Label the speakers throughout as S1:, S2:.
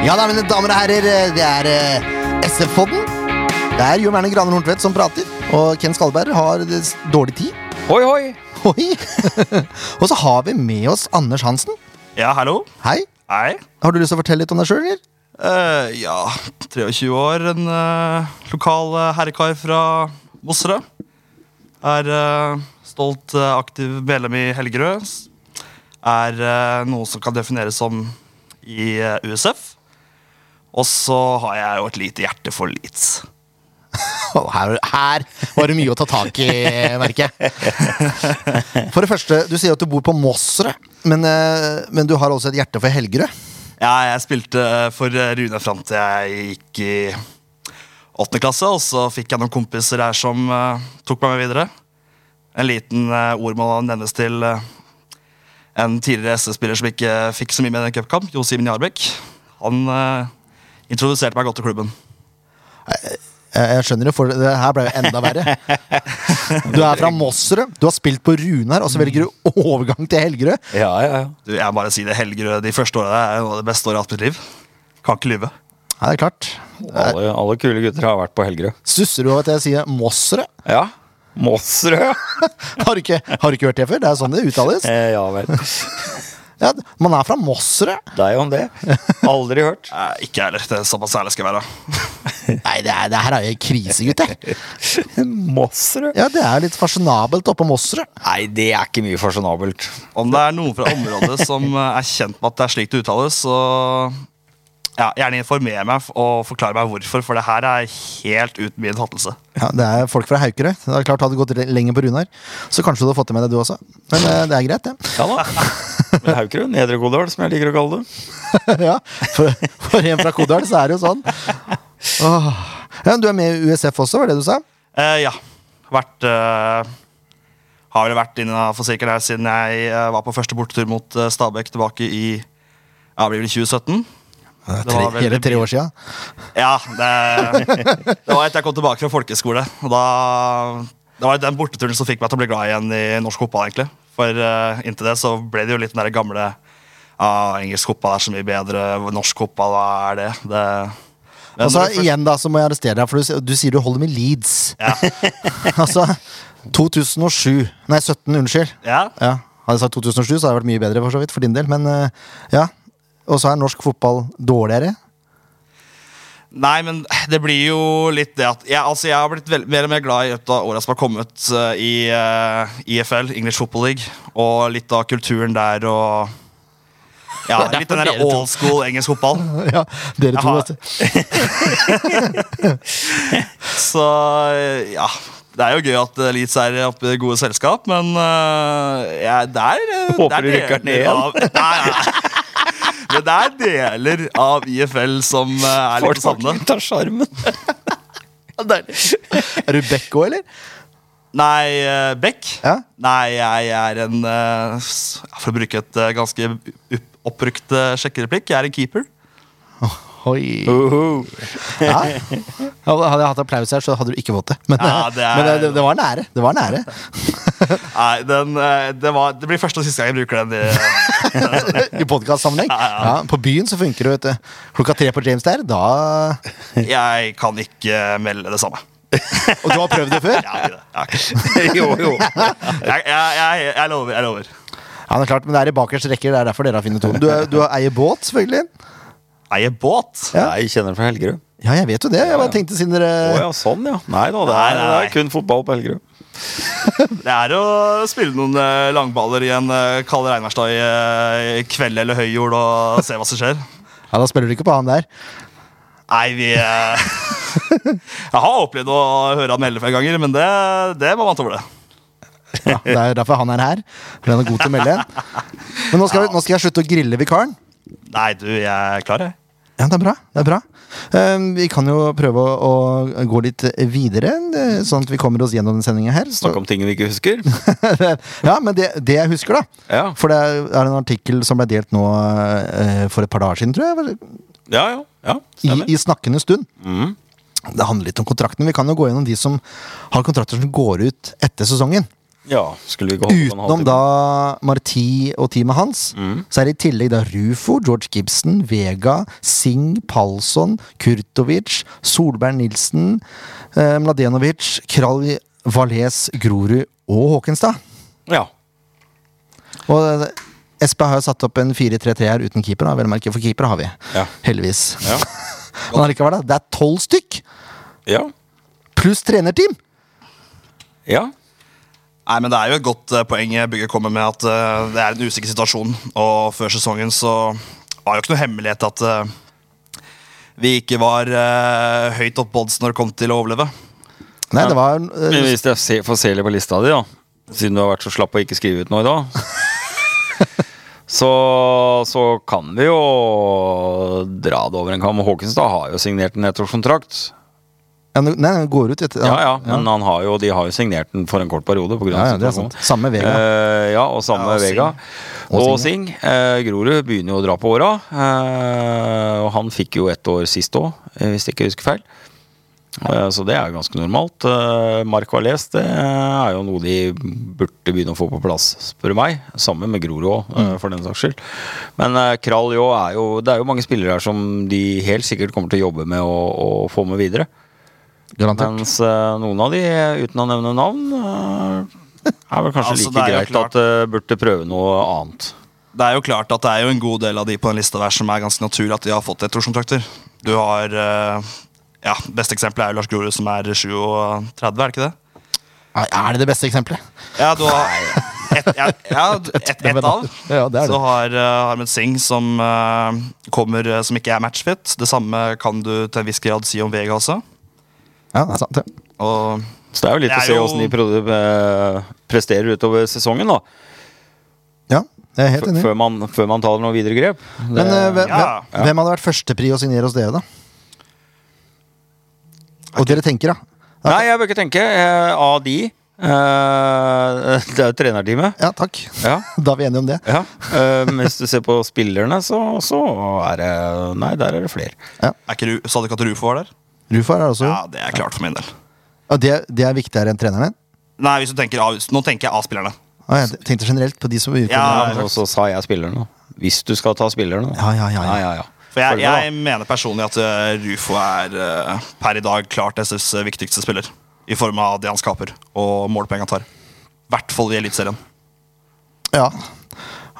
S1: Ja da, mine damer og herrer, det er eh, SF-podden. Det er Jo Merne Graner Horntvedt som prater, og Ken Skalberg har eh, s- dårlig tid.
S2: Hoi, hoi!
S1: Oi. og så har vi med oss Anders Hansen.
S3: Ja, hallo?
S1: Hei.
S3: Hei.
S1: Har du lyst til å fortelle litt om deg sjøl, eller?
S3: Eh, ja, 23 år, en eh, lokal eh, herrekar fra Mosserød. Er eh, stolt eh, aktiv medlem i Helgerød. S- Er eh, noe som kan defineres som i eh, USF. Og så har jeg jo et lite hjerte for Leeds.
S1: Å, Her, her var det mye å ta tak i, merker jeg. For det første, du sier at du bor på Måsserød, men, eh, men du har også et hjerte for Helgerød.
S3: Ja, jeg spilte eh, for Rune fram til jeg gikk i åttende klasse, og så fikk jeg noen kompiser her som eh, tok meg med videre. En liten eh, ord må nevnes til eh, en tidligere SS-spiller som ikke fikk så mye med i den cupkamp, Jo Simen Jarbekk. Han eh, introduserte meg godt til klubben.
S1: Eh, Jeg jeg skjønner det, for det her ble jo enda verre. Du er fra Måsserød, du har spilt på Runar, og så velger du overgang til Helgerød.
S2: Ja, ja, ja.
S3: Du, jeg må bare si det, Helgerød de første åra er noe av det beste året jeg har hatt i mitt liv. Kan ikke lyve.
S1: Ja, det er klart.
S2: Alle, alle kule gutter har vært på Helgerød.
S1: Stusser du over at jeg sier Måsserød?
S2: Ja. Måsrød.
S1: Har, du ikke- har du ikke hørt det før? Det er sånn det uttales.
S2: Eh, ja vel.
S1: Ja, man er fra Måsserød.
S2: Deg om det. Aldri hørt.
S3: Eh, ikke jeg heller. Det er såpass ærlig skal jeg være.
S1: Nei, det, er, det her er jo krise, gutter.
S2: Måsrød?
S1: Ja, det er litt fasjonabelt oppe på Måsserød.
S2: Nei, det er ikke mye fasjonabelt.
S3: Om det er noen fra området som eh, er kjent med at det er slik det uttales, så ja, gjerne informer meg f- og forklar meg hvorfor, for det her er helt uten min fattelse.
S1: Ja, det er folk fra Haukerøy. Det er klart Hadde du gått le- lenger på Runar, så kanskje du hadde fått det med deg, du også. Men eh, det er greit, det.
S2: Ja da. Men Haukerud, Nedre Godal, som jeg liker å kalle det.
S1: ja, for, for en fra Kodal, så er det jo sånn. Åh. Ja, men du er med i USF også, var det du sa?
S3: Eh, ja. Vært eh, Har vel vært innafor sirkelen her siden jeg eh, var på første bortetur mot eh, Stabæk tilbake i ja, det blir vel 2017.
S1: Det
S3: Det var
S1: tre,
S3: veldig
S1: hele tre år sia.
S3: Ja, det, det var etter jeg kom tilbake fra folkeskole. Og da, det var den borteturen som fikk meg til å bli glad igjen i norsk fotball. egentlig. For eh, inntil det så ble det jo litt den der gamle ah, engelsk fotball er så mye bedre, norsk fotball, hva er det? det men
S1: Og så
S3: når du først-
S1: igjen, da, så må jeg arrestere deg, for du, s- du sier du holder med Leeds. altså 2007 Nei, 17, unnskyld.
S3: ja,
S1: Ja, Hadde jeg sagt 2007, så hadde det vært mye bedre for så vidt, for din del, men eh, ja. Og så er norsk fotball dårligere.
S3: Nei, men det blir jo litt det at Jeg, altså, jeg har blitt vel, mer og mer glad i løpet av åra som har kommet eh, i eh, IFL, English Football League, og litt av kulturen der og Ja,
S1: Det er
S3: litt den
S1: derfor
S3: der
S1: dere to-
S3: old school engelsk fotball.
S1: ja, dere to,
S3: Jaha.
S1: vet du.
S3: Så ja Det er jo gøy at eh, Leeds er oppe i gode selskap, men eh, ja, det er eh,
S2: Håper
S3: det
S2: du
S3: er
S2: rykker ned
S3: deler
S2: igjen.
S3: Av, nei, nei, nei. Men det er deler av IFL som eh, er litt
S2: Får
S3: det samme.
S2: tak av sjarmen.
S1: Er du Beck òg, eller?
S3: Nei, eh, Beck?
S1: Ja.
S3: Nei, jeg er en eh, s- For å bruke et eh, ganske opp- oppbrukt eh, sjekkereplikk, jeg er en keeper.
S1: Oi.
S2: Uhu.
S1: Ja. Hadde hadde jeg hatt applaus her, så hadde du ikke fått det. Men,
S3: Ja, det er-
S1: men eh, det, det, det var nære. Det var nære.
S3: Nei, den, eh, det, var, det blir første og siste gang jeg bruker den. eh.
S1: I podkastsammenheng. Ja, på byen så funker det, vet du. Klokka tre på James der, da
S3: Jeg kan ikke melde det samme.
S1: Og du har prøvd det før?
S3: Jeg, har ikke det. Jeg, har ikke det.
S2: Jo, jo.
S3: jeg, jeg, jeg, jeg lover. jeg lover
S1: Ja, det er klart, Men det er i bakerste rekker. Det er derfor dere har funnet tonen. Du, er- du eier båt, selvfølgelig.
S3: Eier båt?
S1: Ja.
S2: Nei, kjenner fra Helgerud.
S1: Ja, jeg vet jo det. Jeg bare tenkte siden dere
S2: Å ja, sånn ja. Nei da, det
S3: Nei,
S2: er, det
S3: nei.
S2: er kun fotball på Helgerud.
S3: Det er å spille noen eh, langballer i en eh, kald regnværsdag i eh, kveld eller høyjord og se hva som skjer.
S1: Ja, Da spiller du ikke på han der.
S3: Nei, vi eh, Jeg har opplevd å høre han melde flere ganger, men det, det må man tåle.
S1: Ja, det er jo derfor han er her. For han er god til å melde en. Men nå skal, vi, nå skal jeg slutte å grille vikaren.
S3: Nei, du, jeg er klar, jeg.
S1: Ja, det er bra. det er bra Ehm, Vi kan jo prøve å, å gå litt videre, eh, sånn at vi kommer oss gjennom denne sendinga her. Så,
S2: Snakke om ting vi ikke husker.
S1: ja, men det, det jeg husker, da.
S2: Ja,
S1: For det er en artikkel som ble delt nå eh, for et par dager siden, tror jeg. vel,
S2: ja, ja. ja
S1: I,
S2: stemmer. Mm.
S1: i snakkende stund. Det handler litt om kontrakten. Vi kan jo gå gjennom de som har kontrakter som går ut etter sesongen.
S2: Ja, skulle vi ikke holde på en
S1: Utenom
S2: halvtime?
S1: da Marti og teamet hans,
S2: Mm.
S1: så er det i tillegg da Rufo, George Gibson, Vega, Singh, Palsson, Kurtovic, Solberg Nilsen, eh, Mladenovic, Kralj, Valais, Grorud og Håkenstad.
S2: Ja.
S1: Og eh, Espa har jo satt opp en 4-3-3 her uten keeper, da. vel å merke, for keeper har vi.
S2: Ja.
S1: Heldigvis.
S2: Ja.
S1: Men allikevel, da. Det er tolv stykk!
S2: ja.
S1: Pluss trenerteam!
S2: ja.
S3: Nei, men Det er jo et godt eh, poeng Bygge kommer med, at eh, det er en usikker situasjon. Og før sesongen så var det jo ikke noe hemmelighet at eh, vi ikke var eh, høyt oppe odds når det kom til å overleve.
S1: Nei, det var
S2: Men
S1: eh,
S2: hvis jeg se- får se litt på lista di, da siden du har vært så slapp og ikke skrive ut noe i dag Så, så kan vi jo dra det over en kam. Håkenstad har jo signert en ettårskontrakt.
S1: ja, Nei, den går ut, vet du.
S2: Ja, ja, men Han har jo, de har jo signert den for en kort periode. På grunn
S1: Ja,
S2: av
S1: ja, det er
S2: situasjonen.
S1: sant. Samme Vega.
S2: Eh, ja, og samme
S3: Ja, og
S2: Vega.
S1: Og
S2: Og Sing. Eh, Grorud begynner jo å dra på åra. Eh, og han fikk jo ett år sist òg, hvis jeg ikke husker feil. Eh, så det er jo ganske normalt. Eh, Mark Valais det eh, er jo noe de burde begynne å få på plass, spør du meg. Sammen med Grorud òg, eh,
S1: Mm.
S2: for den saks skyld. Men eh, Kralj òg er jo Det er jo mange spillere her som de helt sikkert kommer til å jobbe med å, å få med videre.
S1: Garantert.
S2: Mens eh, noen av de, eh, uten å nevne navn, eh, er vel kanskje
S3: Altså, det
S2: like
S3: er jo
S2: greit at eh, burde prøve noe annet.
S3: Det er jo klart at det er jo en god del av de på den lista der som er ganske naturlig at de har fått ettårskontrakter. Du har eh, ja, Beste eksempelet er jo Lars Grorud, som er 37, er det ikke det?
S1: Ja, Er det det beste eksempelet?
S3: Ja, du har et, ja, ja, et, et, av.
S1: Ja, det er det.
S3: Så har uh, Harmet Singh som eh, kommer eh, som ikke er matchfit. Det samme kan du til en viss grad si om Vega også.
S1: Ja, det er sant. det.
S3: Og
S2: Så det er jo litt
S3: Det
S2: å
S3: er
S2: se
S3: jo-
S2: åssen de produ- eh, presterer utover sesongen, da.
S1: Ja, jeg er helt
S2: F-
S1: enig.
S2: Før man, før man tar noen videre grep.
S1: Men eh, hvem,
S3: Ja.
S1: hvem- hvem hadde vært førstepri å signere hos dere, da? Og dere tenker, da?
S2: Nei, jeg bør ikke tenke. eh, av de eh, Det er jo trenerteamet.
S1: Ja, takk.
S2: Ja.
S1: Da er vi enige om det.
S2: ja. Eh, men hvis du ser på spillerne, så, så er det Nei, der er det flere.
S3: er ikke, Ru- sa du ikke at Rufo var der?
S1: Rufar er også
S3: Ja, det er klart for min del.
S1: Ja, det, det er viktigere enn treneren din?
S3: Nei, hvis du tenker av, Nå tenker jeg A-spillerne.
S1: Ah, jeg tenkte generelt på de som utgår.
S3: Ja,
S2: Ja, og så sa jeg spillerne. da. Hvis du skal ta spillerne, da.
S1: Ja, ja, ja, ja.
S3: For jeg,
S2: Følg med, da.
S3: jeg mener personlig at eh, Rufo er eh, per i dag klart SS viktigste spiller. I form av det han skaper og målpoeng han tar. I hvert fall i Eliteserien.
S1: ja.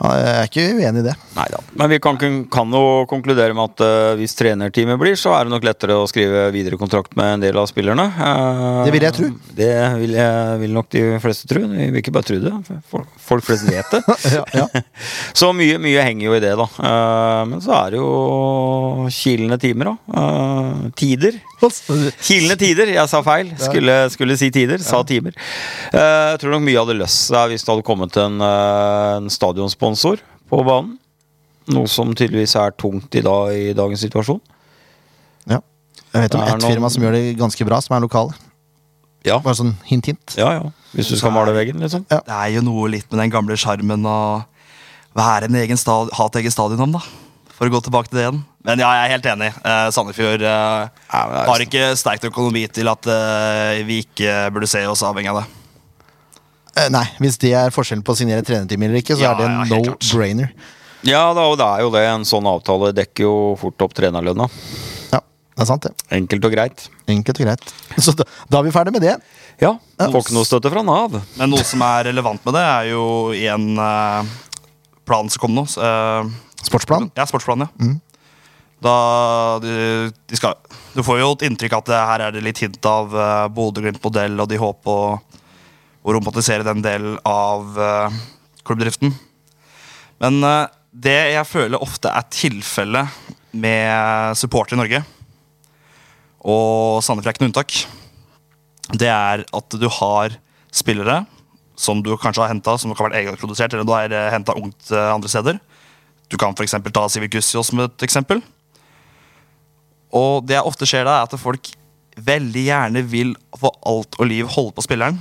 S1: Ja, Jeg er ikke uenig i det.
S2: Neida. Men vi kan, kun- kan jo konkludere med at eh, hvis trenerteamet blir, så er det nok lettere å skrive videre kontrakt med en del av spillerne. Eh,
S1: Det vil jeg tro.
S2: Det vil, jeg, vil nok de fleste tro. Vi vil ikke bare tro det. Folk, folk flest vet det.
S1: Ja, ja.
S2: Så mye, mye henger jo i det, da. Eh, men så er det jo kilende timer, da. Eh, tider. Kilende tider. Jeg sa feil. Skulle, skulle si tider. Sa timer. Eh, jeg tror nok mye hadde løst seg hvis det hadde kommet en, eh, en stadionsponsor på banen. Noe som tydeligvis er tungt i, dag, i dagens situasjon.
S1: Ja. Jeg vet om
S2: Det er
S1: ett firma
S2: noen-
S1: som gjør det ganske bra, som er lokale.
S2: Ja,
S1: Bare sånn hint, hint.
S2: ja, ja. Hvis du skal male veggen, liksom.
S1: Ja.
S3: Det er jo noe litt med den gamle sjarmen å være en egen stad, ha et eget stadion om, da. For å gå tilbake til det igjen. Men ja, jeg er helt enig. Eh, Sandefjord eh,
S2: Ja, men det er
S3: har ikke sterkt økonomi til at eh, vi ikke burde se oss avhengig av det.
S1: Eh, Nei, hvis det er forskjellen på å signere trenerteam eller ikke, så
S3: Ja,
S1: er det en
S3: ja, helt klart.
S1: no-brainer.
S2: Ja, da, og det er jo det. En sånn avtale dekker jo fort opp trenerlønna.
S1: Ja, det er sant, det.
S2: Enkelt og greit.
S1: Enkelt og greit. Så da, da er vi ferdig med det.
S2: Ja. Får ikke noe støtte fra Nav.
S3: Men noe som er relevant med det, er jo igjen eh, planen som kom nå. så, eh,
S1: Sportsplan.
S3: Ja, sportsplanen, ja. Da de, de skal, du får jo et inntrykk at det, her er det litt hint av uh, Bodø-Glimt-modell, og de håper å, å romantisere den delen av eh, klubbdriften. Men eh, det jeg føler ofte er tilfellet med supportere i Norge, og Sandefjord er ikke noe unntak, det er at du har spillere som du kanskje har henta, som kan være egenprodusert, eller du har henta ungt eh, andre steder. Du kan f.eks. ta Sivert Gussiå som et eksempel. Og det jeg ofte ser da, er at folk veldig gjerne vil for alt og liv holde på spilleren.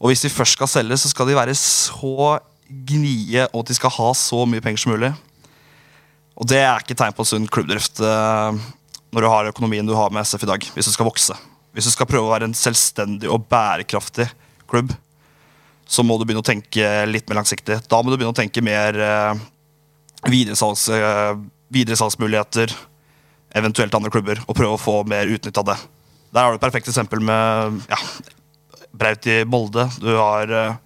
S3: Og hvis de først skal selge, så skal de være så gnie, og at de skal ha så mye penger som mulig. Og det er ikke tegn på sunn klubbdrift eh, når du har økonomien du har med SF i dag, hvis du skal vokse. Hvis du skal prøve å være en selvstendig og bærekraftig klubb, så må du begynne å tenke litt mer langsiktig. Da må du begynne å tenke mer eh, videresalgs, eh, videresalgsmuligheter, eventuelt andre klubber, og prøve å få mer utnytt av det. Der har du et perfekt eksempel med ja, Braut i Molde. Du har eh,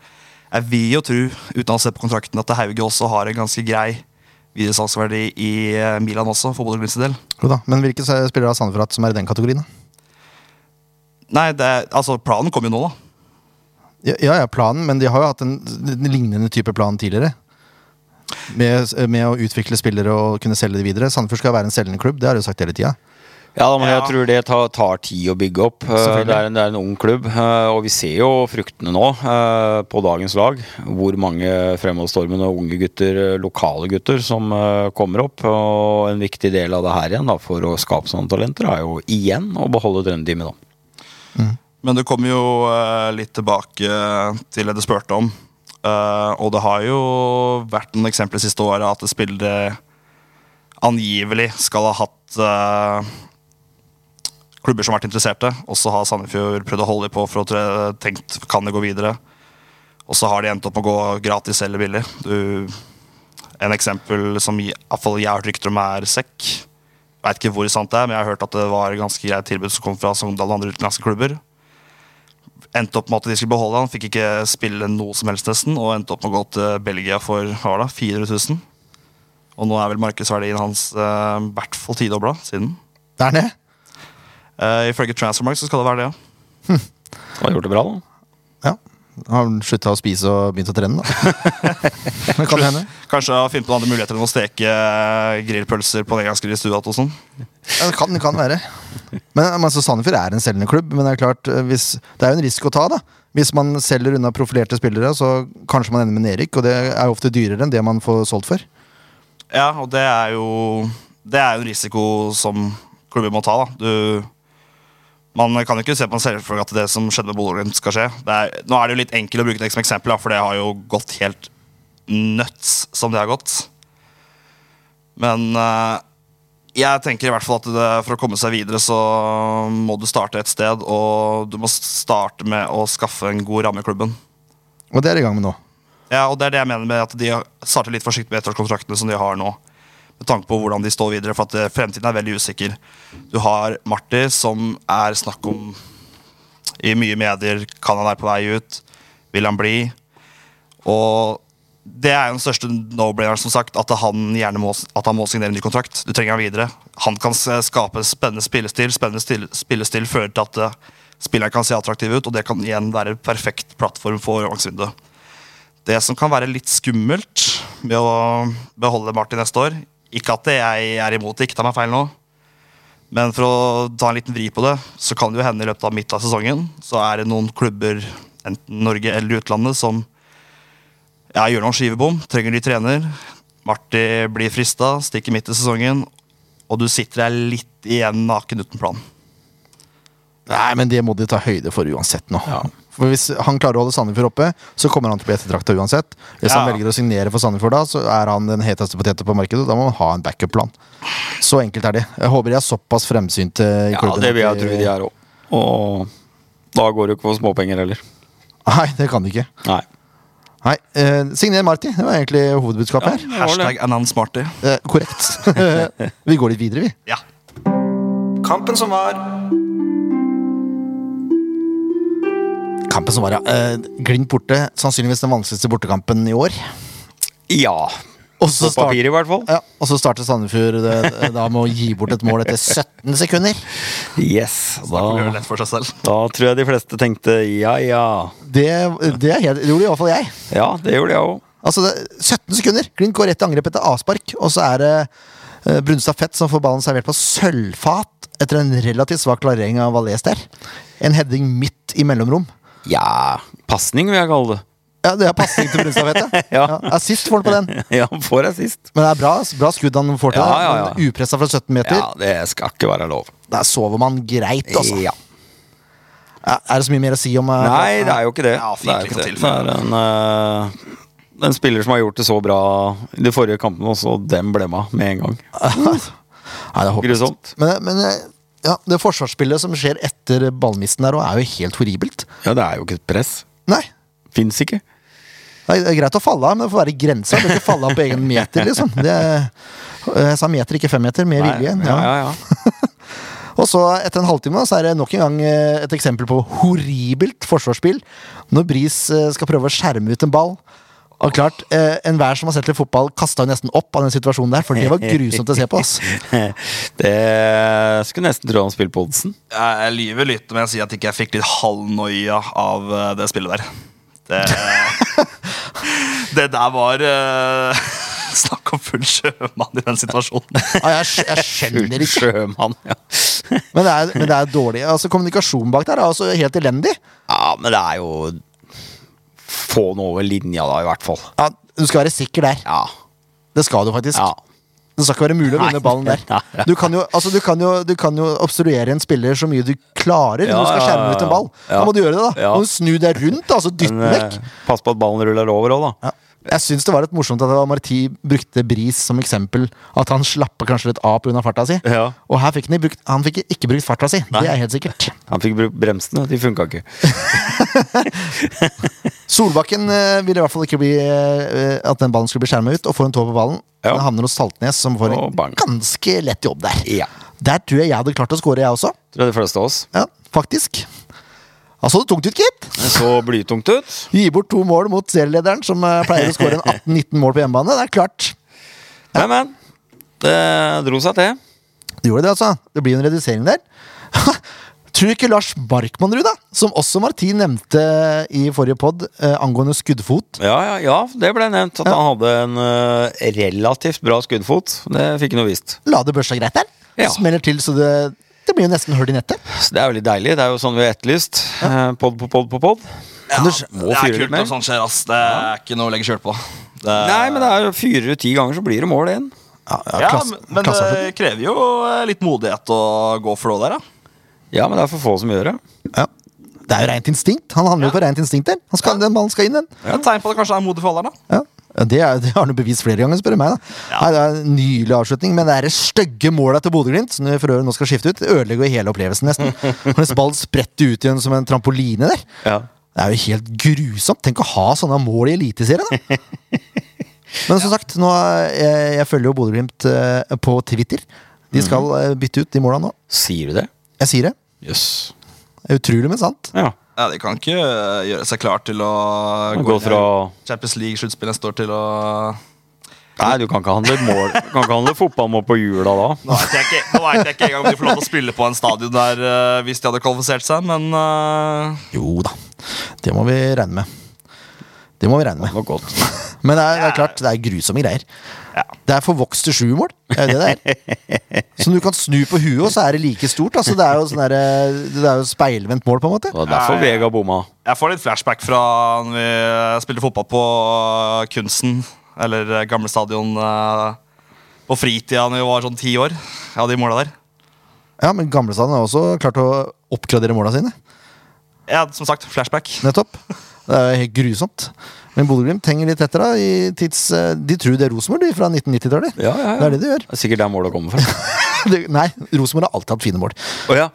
S3: Jeg vil jo tro, uten å se på kontrakten, at Hauge også har en ganske grei videresalgsverdi i eh, Milan også, for Bodø Glimts del.
S1: Jo da, Men hvilke se- spillere har Sandefjord hatt som er i den kategorien? da?
S3: Nei, det, er- altså, planen kom jo nå, da.
S1: Ja, ja, ja, planen, men de har jo hatt en, en lignende type plan tidligere. Med, med å utvikle spillere og kunne selge de videre. Sandefjord skal være en selgende klubb, det har de jo sagt hele tida.
S2: Ja, da, men jeg
S3: Ja.
S2: tror det tar, tar tid å bygge opp. Eh,
S1: Selvfølgelig.
S2: Det er, en, det er en ung klubb, eh, og vi ser jo fruktene nå eh, på dagens lag. Hvor mange fremadstormende unge gutter, eh, lokale gutter, som eh, kommer opp. Og en viktig del av det her igjen da, for å skape sånne talenter er jo igjen å beholde Trønderdimet, da.
S3: Men det kommer jo eh, litt tilbake til det du spurte om. Eh, og det har jo vært noen eksempler siste året at spillere angivelig skal ha hatt eh, klubber som har vært interesserte, og så har Sandefjord prøvd å holde dem på for å tre, tenkt kan det gå videre. Og så har de endt opp med å gå gratis eller billig. Du, en eksempel som i hvert fall jeg har hørt rykter om, er Sekk. Veit ikke hvor sant det er, men jeg har hørt at det var et ganske greit tilbud som kom fra Sogndal og andre utenlandske klubber endte opp med at de skulle beholde han. Fikk ikke spille noe som helst, nesten, og endte opp med å gå til Belgia for hva var det, 400 000. Og nå er vel markedsverdien hans eh, i hvert fall tidobla siden.
S1: Der nede!
S3: Uh, ifølge Transfermark så skal det være det, ja.
S2: Han har gjort det bra, da.
S1: Ja. Har han slutta å spise og begynt å trene, da? det kan hende.
S3: Kanskje å finne på noen andre muligheter enn å steke eh, grillpølser på en engangsgrill i stua. og sånn.
S1: Ja, det kan, det kan være. Men men altså, Sandefjord er en selgende klubb, men det er klart eh, hvis, det er jo en risk å ta. da Hvis man selger unna profilerte spillere, så kanskje man ender med nedrykk, og det er jo ofte dyrere enn det man får solgt for.
S3: Ja, og det er jo Det er jo en risiko som klubber må ta, da. Du man kan jo ikke se på en selvfølge at det som skjedde med Bodø Glimt, skal skje. Det er, nå er det jo litt enkelt å bruke det som eksempel, da, for det har jo gått helt nuts som det har gått. Men eh, jeg tenker i hvert fall at det, for å komme seg videre, så må du starte et sted. Og du må starte med å skaffe en god ramme i klubben.
S1: Og det er de i gang med nå.
S3: Ja, og det er det jeg mener med at de starter litt forsiktig med ettårskontraktene som de har nå. Med tanke på hvordan de står videre, for at eh, fremtiden er veldig usikker. Du har Marti, som er snakk om i mye medier. Kan han være på vei ut? Vil han bli? Og det er jo den største no-braineren, som sagt, at han gjerne må, at han må signere en ny kontrakt. Du trenger han videre. Han kan s- skape spennende spillestil. Spennende stil, spillestil fører til at eh, spilleren kan se attraktiv ut, og det kan igjen være en perfekt plattform for overgangsvinduet. Det som kan være litt skummelt med å beholde Martin neste år Ikke at jeg er imot det, ikke ta meg feil nå. Men for å ta en liten vri på det, så kan det jo hende i løpet av midten av sesongen så er det noen klubber, enten Norge eller utlandet, som ja, gjør noen skivebom, trenger ny trener. Marti blir frista, stikker midt i sesongen, og du sitter der litt igjen naken uten plan.
S1: Nei, men det må de ta høyde for uansett nå.
S2: Ja.
S1: For Hvis han klarer å holde Sandefjord oppe, så kommer han til å bli ettertrakta uansett. Hvis han
S3: Ja.
S1: velger å signere for Sandefjord da, så er han den heteste poteten på markedet. og Da må man ha en backup-plan. Så enkelt er det. Jeg håper de er såpass fremsynte i
S2: Ja,
S1: klubben.
S2: det vil
S1: at
S2: jeg tro de er òg. Og da går det jo ikke for småpenger heller.
S1: Nei, det kan de ikke.
S2: Nei.
S1: Nei, eh, Signer Marti. Det var egentlig hovedbudskapet her.
S3: Hashtag announce Marti.
S1: Eh, korrekt. vi går litt videre, vi.
S3: Ja.
S1: Kampen som var. Kampen som var, ja. Eh, Glimt borte. Sannsynligvis den vanskeligste bortekampen i år.
S2: Ja.
S1: Og så
S2: På
S1: start-
S2: papir, i hvert fall.
S1: ja, og så starter Sandefjord eh, da med å gi bort et mål etter 17 sekunder.
S2: Yes.
S3: Da blir det
S2: Da,
S3: lett for seg selv.
S2: da tror jeg de fleste tenkte ja, ja.
S1: Det, det, er helt, det gjorde iallfall jeg.
S2: Ja, det gjorde jeg òg.
S1: Altså, det, 17 sekunder! Glimt går rett til angrep etter avspark, og så er det eh, Brunstad Fett som får ballen servert på sølvfat etter en relativt svak klarering av Valais der. En heading midt i mellomrom.
S2: Ja, pasning vil jeg kalle det.
S1: Ja, det er pasning til Brunstad Fett,
S2: Ja.
S1: Assist får han på den.
S2: Ja, får jeg sist.
S1: Men det er bra, altså. bra skudd han får til.
S2: Ja, ja,
S1: Ja,
S2: ja.
S1: Upressa fra 17 meter.
S2: Ja, det skal ikke være lov.
S1: Der sover man greit, altså.
S2: Ja.
S1: Er er det så mye mer å si om eh,
S2: Nei, det er jo ikke det.
S3: Ja,
S2: det, er jo
S3: fint
S2: ikke det.
S3: til.
S2: det er en, eh, en spiller som har gjort det så bra i de forrige kampene også, og den ble med med en gang.
S1: Nei, det er håpløst.
S2: Grusomt.
S1: Men, men eh, ja, det forsvarsspillet som skjer etter ballmisten der, også, er jo helt horribelt.
S2: Ja, det er jo ikke et press.
S1: Nei.
S2: Fins ikke.
S1: Nei, Det er greit å falle av, men det får være grensa. Du kan ikke falle av på egen meter, liksom. Det, eh, jeg sa meter, ikke femmeter. Med vilje.
S2: Nei,
S1: Ja.
S2: ja, ja, ja.
S1: Og så etter en halvtime da, så er det nok en gang eh, et eksempel på horribelt forsvarsspill. Når Bris eh, skal prøve å skjerme ut en ball. Og klart, eh, Enhver som har sett litt fotball, kasta jo nesten opp av den situasjonen der. For det var grusomt å se på. ass.
S2: Det skulle nesten tro han spilte på oddsen.
S3: Jeg, jeg lyver litt når jeg sier at ikke jeg fikk litt halvnoia av eh, det spillet der. Det, det der var eh, Snakk om full sjømann i den situasjonen.
S1: Ja, jeg, skj- jeg skjønner ikke.
S2: Sjømann, ja.
S1: Men det er, men det er dårlig. Altså, Kommunikasjonen bak der er altså helt elendig.
S2: ja. Men det er jo Få den over linja, da, i hvert fall.
S1: Ja, du skal være sikker der.
S2: Ja.
S1: Det skal du faktisk.
S2: ja.
S1: Det skal ikke være mulig å vinne
S2: Nei.
S1: ballen
S2: Nei,
S1: der. Du kan, jo, altså, du, kan jo, du kan jo obstruere en spiller så mye du klarer
S2: Ja,
S1: når du skal
S2: ja, ja,
S1: skjerme ut en ball. Da
S2: ja.
S1: må du gjøre det, da.
S2: Ja.
S1: Må du snu deg rundt, altså dytte den
S2: Men,
S1: vekk.
S2: eh, pass på at ballen ruller over òg, da.
S1: Ja. Jeg syns det var litt morsomt at det var Marti brukte Bris som eksempel. At han slapper kanskje litt av pga. farta si.
S2: Ja.
S1: Og her fikk han, i brukt, han fikk ikke brukt farta si. Det er helt sikkert.
S2: Han fikk brukt bremsene, de funka ikke.
S1: Solbakken eh, ville i hvert fall ikke bli eh, at den ballen skulle bli skjermet ut, og får en tå på ballen.
S2: Ja.
S1: Den havner hos Saltnes, som får
S2: Og
S1: en
S2: bang.
S1: ganske lett jobb der.
S2: Ja.
S1: Der tror jeg jeg hadde klart å score, jeg også.
S2: Tror jeg de fleste av oss.
S1: Ja, faktisk. Da så det tungt ut, gitt.
S2: Det så blytungt ut.
S1: Gi bort to mål mot serielederen, som eh, pleier å skåre en 18-19 mål på hjemmebane. Det er klart.
S2: Men, men. Det dro seg til.
S1: Det gjorde det, altså. Det blir jo en redusering der. Tror du ikke Lars Barkmannrud, da, som også Martin nevnte i forrige pod, eh, angående skuddfot
S2: Ja, ja, ja, det ble nevnt at han hadde en eh, relativt bra skuddfot. Det fikk han jo visst.
S1: la det børsa greit der?
S2: Ja.
S1: Smeller til, så det, det blir jo nesten hull i nettet.
S2: Så det er jo litt deilig. Det er jo sånn vi har etterlyst. Eh, Pod på pod på pod.
S3: Ja,
S1: du
S3: det
S1: skj-
S2: må fyre
S3: er
S2: litt
S3: kult
S2: mer.
S3: når sånt skjer, ass. Det er ikke noe å legge skjul på. Det,
S2: Nei, men det er jo fyrer du ti ganger, så blir det mål igjen.
S1: Ja,
S3: ja, men, men det krever jo eh, litt modighet å gå for noe der, da.
S2: Ja, men det er for få som gjør det.
S3: eh,
S1: ja. det er jo rent instinkt. Han handler jo på rent instinkt der. Han skal, Den ballen skal inn, den.
S3: Et tegn på at det kanskje er modig for alderen, da.
S1: Ja. Ja, Det, er, det har han jo bevist flere ganger, spør du meg. da Nei, Det er en Nylig avslutning, men det er det stygge måla til Bodø-Glimt, som vi for øvrig nå skal skifte ut, det ødelegger jo hele opplevelsen, nesten. Når ballen spretter ut igjen som en trampoline der.
S2: Ja.
S1: Det er jo helt grusomt. Tenk å ha sånne mål i Eliteserien, da! Men som sagt, nå, jeg, jeg følger jo Bodø-Glimt eh, på Twitter. De skal eh, bytte ut de måla nå.
S2: Sier du det?
S1: Jeg sier det.
S2: Jøss. Yes.
S1: Det er utrolig, men sant.
S2: Ja.
S3: Ja, de kan ikke eh, gjøre seg klar til å
S2: Han
S3: gå
S2: går
S3: inn i
S2: fra
S3: Champions League-sluttspill neste år til å
S2: Nei, du kan ikke handle, mål. Du kan ikke handle fotballmål på jula da.
S3: Nå vet jeg ikke, nå vet jeg ikke engang om de får lov til å spille på en stadion der eh, hvis de hadde kvalifisert seg, men eh,
S1: Jo da. Det må vi regne med. Det må vi regne med.
S2: Det var godt.
S1: Men det er, det er klart, det er grusomme greier. Det er forvokste sjumål. Det er jo det det er. Som du kan snu på huet, og så er det like stort. Altså, det er jo, sånn der, eh, det er jo speilvendt mål, på en måte.
S2: Det var derfor
S3: Ja, ja.
S2: Vega bomma.
S3: Jeg får litt flashback fra når vi eh, spilte fotball på eh, Kunsten, eller eh, gamle stadion eh, på fritida når vi var sånn ti år. Ja, de måla der.
S1: Ja, Men Gamlestaden har også klart å oppgradere måla sine.
S3: Ja, som sagt, flashback.
S1: Nettopp. Det er jo helt grusomt. Men Bodø-Glimt henger litt etter. da i tids, eh, De tror det er Rosenborg de, fra 1990-tallet.
S2: Ja, ja, ja.
S1: Det er det de gjør.
S2: Det er sikkert der målet kommer fra.
S1: Det- Nei, Rosenborg har alltid hatt fine mål.
S2: Å ja.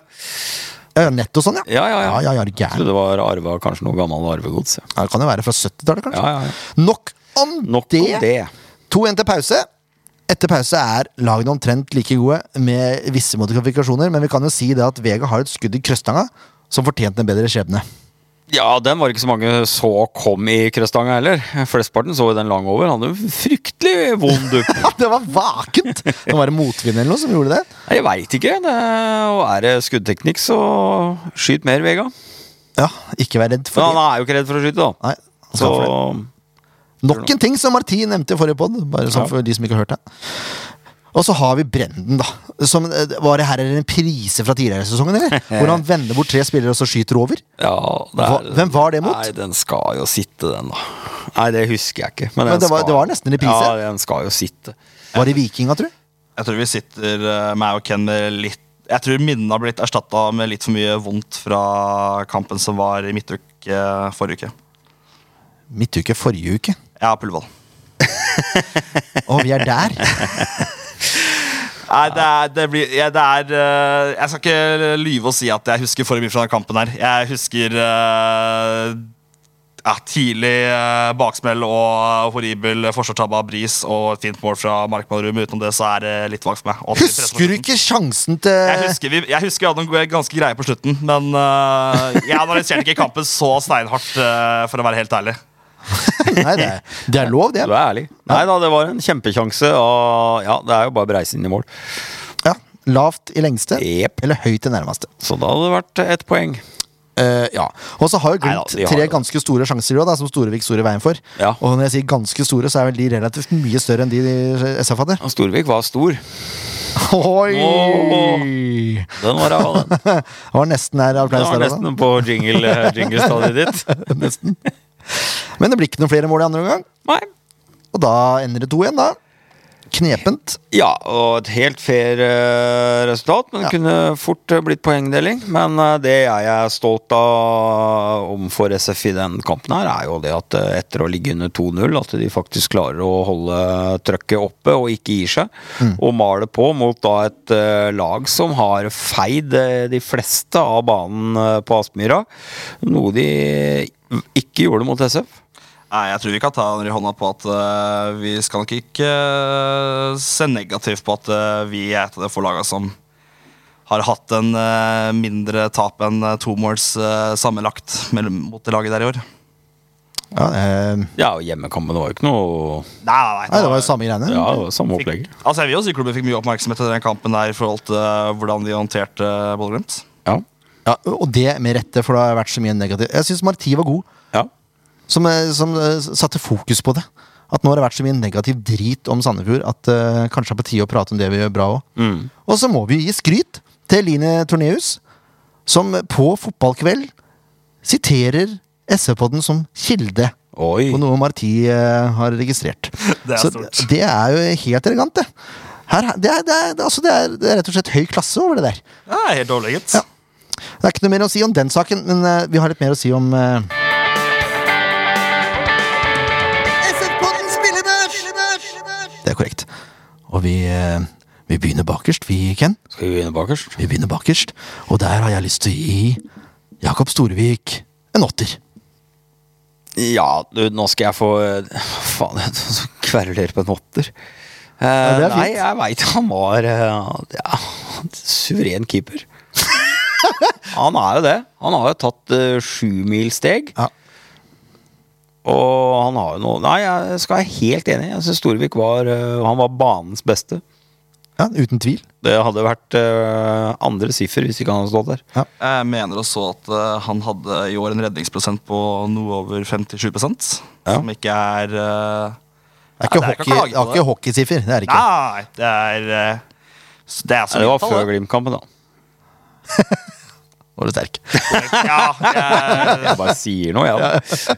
S1: Ja, ja, netto sånn, ja.
S2: Ja, ja, ja.
S1: ja, ja, ja, er du
S2: Jeg trodde
S1: gæren.
S2: det var arva kanskje noe gammel arvegods. Ja.
S1: Ja, det kan jo være fra 70-tallet, kanskje.
S2: Ja, ja, ja.
S1: Nok om
S2: Nok
S1: det.
S2: om det.
S1: 2-1 til pause. Etter pause er lagene omtrent like gode, med visse modifikasjoner, men vi kan jo si det at Vega har et skudd i krøstanga som fortjente en bedre skjebne.
S2: Ja, den var ikke så mange så kom i Krøstanga heller. Flesteparten så jo den lang over. Han hadde jo fryktelig vond dupp.
S1: Ja, det var vakent! Det var en motvind eller noe som gjorde det.
S2: Nei, Jeg veit ikke. Det er, og er det skuddteknikk, så skyt mer, Vega.
S1: Ja, ikke vær redd for
S2: Men han
S1: det.
S2: er jo ikke redd for å skyte, da.
S1: Nei, han skal
S2: Så
S1: for det. Nok en ting som Martin nevnte i forrige pod, bare sånn
S2: Ja.
S1: for de som ikke har hørt det. Og så har vi Brenden, da. Som, eh, var det her en reprise fra tidligere i sesongen? eller? Hvor han vender bort tre spillere og så skyter over?
S2: ja, det er,
S1: Hva- hvem var det mot?
S2: Nei, Den skal jo sitte, den, da. Nei, det husker jeg ikke.
S1: Men
S2: den
S1: det var-
S2: skal-
S1: det var nesten en reprise.
S2: Ja, den skal jo sitte.
S1: Var det Vikinga, tror du?
S3: Jeg tror vi sitter, eh, meg og Ken, med litt Jeg tror minnene har blitt erstatta med litt for mye vondt fra kampen som var i midtuke eh, forrige uke.
S1: Midtuke forrige uke.
S3: Ja, på Ullevål.
S1: Og vi er der!
S3: Nei, det er, det blir, ja, det er eh, Jeg skal ikke lyve og si at jeg husker for mye fra den kampen her. Jeg husker eh, ja, tidlig eh, baksmell og horribel forsvarstabbe av Bris og et fint mål fra Markmannrum. Utenom det så er det litt vagt for meg. Og at vi
S1: Husker
S3: presser på
S1: du
S3: slutten.
S1: ikke sjansen til
S3: Jeg husker, vi, jeg husker vi hadde noen gode- ganske greie på slutten, men eh, jeg analyserte ikke kampen så steinhardt, eh, for å være helt ærlig.
S1: Nei, det er, det er lov, det.
S2: Du er ærlig. Nei da, det var en kjempekjanse. Og ja, det er jo bare å breise inn i mål.
S1: Ja. Lavt i lengste,
S2: Jep.
S1: eller høyt i nærmeste.
S2: Så da hadde det vært ett poeng.
S1: Eh, ja. Og så har jo
S2: Neida,
S1: Glimt
S2: de har
S1: tre
S2: det.
S1: ganske store sjanser i år, da, som Storevik står i veien for.
S2: Ja.
S1: Og når jeg sier ganske store, så er vel de relativt mye større enn de SF hadde.
S2: Og Storvik var stor.
S1: Oi!
S2: Åh. Den var ræva, den.
S1: Det var nesten her
S2: Den
S1: applaus
S2: var
S1: der også.
S2: nesten på jingle, eh, jingle-stadiet ditt. Nesten.
S1: Men det blir ikke noen flere mål i andre omgang,
S2: Nei.
S1: og da ender det 2-1, da. Knepent.
S2: Ja, og et helt fair eh, resultat, men det kunne fort eh, blitt poengdeling. Men eh, det jeg er stolt av overfor SF i den kampen her, er jo det at eh, etter å ligge under 2-0, at de faktisk klarer å holde eh, trøkket oppe og ikke gir seg. Og male på mot da et eh, lag som har feid eh, de fleste av banen eh, på Aspmyra. Noe de ikke gjorde mot SF.
S3: Nei, Jeg tror vi kan ta under i hånda på at eh, vi skal nok ikke eh, se negativt på at eh, vi er et av de få lagene som har hatt en eh, mindre tap enn uh, to måls eh, sammenlagt mellom, mot det laget der i år.
S1: Ja, eh,
S2: Ja, og hjemmekampen var jo ikke noe
S3: Nei, nei,
S1: nei, det var jo samme greiene.
S2: Ja, det var samme opplegget.
S3: Altså, jeg vil jo si klubben fikk mye oppmerksomhet i den kampen der i forhold til eh, hvordan de håndterte uh, Bodø-Glimt.
S2: Ja.
S1: Ja, og det med rette, for det har vært så mye negativt. Jeg syns Marti var god,
S2: ja.
S1: som, eh, som eh, satte fokus på det. At nå har det vært så mye negativ drit om Sandefjord at eh, kanskje det er på tide å prate om det vi gjør bra òg.
S3: Mm.
S1: Og så må vi gi skryt til Eline Torneus, som på fotballkveld siterer SV-podden som kilde
S2: Oi.
S1: på noe Marti eh, har registrert.
S3: Det er
S1: så
S3: stort.
S1: det er jo helt elegant, det. Her, det, er, det, er, altså det, er, det er rett og slett høy klasse over det der.
S3: Ja, helt overlegent.
S1: Ja. Det er ikke noe mer å si om den saken, men eh, vi har litt mer å si om eh, Det er korrekt. Og vi, eh, vi begynner bakerst, vi, Ken.
S2: Skal vi begynne bakerst?
S1: Vi begynner bakerst. Og der har jeg lyst til å gi Jakob Storevik en åtter.
S2: Ja, du, nå skal jeg få Faen, jeg så kveruler på en åtter. Eh,
S1: det er fint.
S2: nei, jeg veit han var eh, ja, suveren keeper. han er jo det. Han har jo tatt eh, sjumilssteg.
S1: Ja.
S2: Og han har jo noe Nei, jeg skal være helt enig. Jeg syns Storvik var eh, Han var banens beste.
S1: Ja, Uten tvil.
S2: Det hadde vært eh, andre siffer hvis ikke han hadde stått der.
S3: Jeg mener også at eh, han hadde i år en redningsprosent på noe over 57
S2: Ja.
S3: Som ikke er eh,
S1: Det er ikke,
S3: Ja, det er
S1: hockey,
S3: ikke å klage
S1: det er
S3: på
S1: ikke hockeysiffer. Det er det ikke.
S3: Nei, det er eh, s- Det er så
S2: Det
S3: mye
S2: var
S3: tall,
S2: før
S3: det.
S2: Glimt-kampen, da.
S1: Var du sterk?
S3: Ja, jeg,
S2: Jeg bare sier noe, jeg. Ja.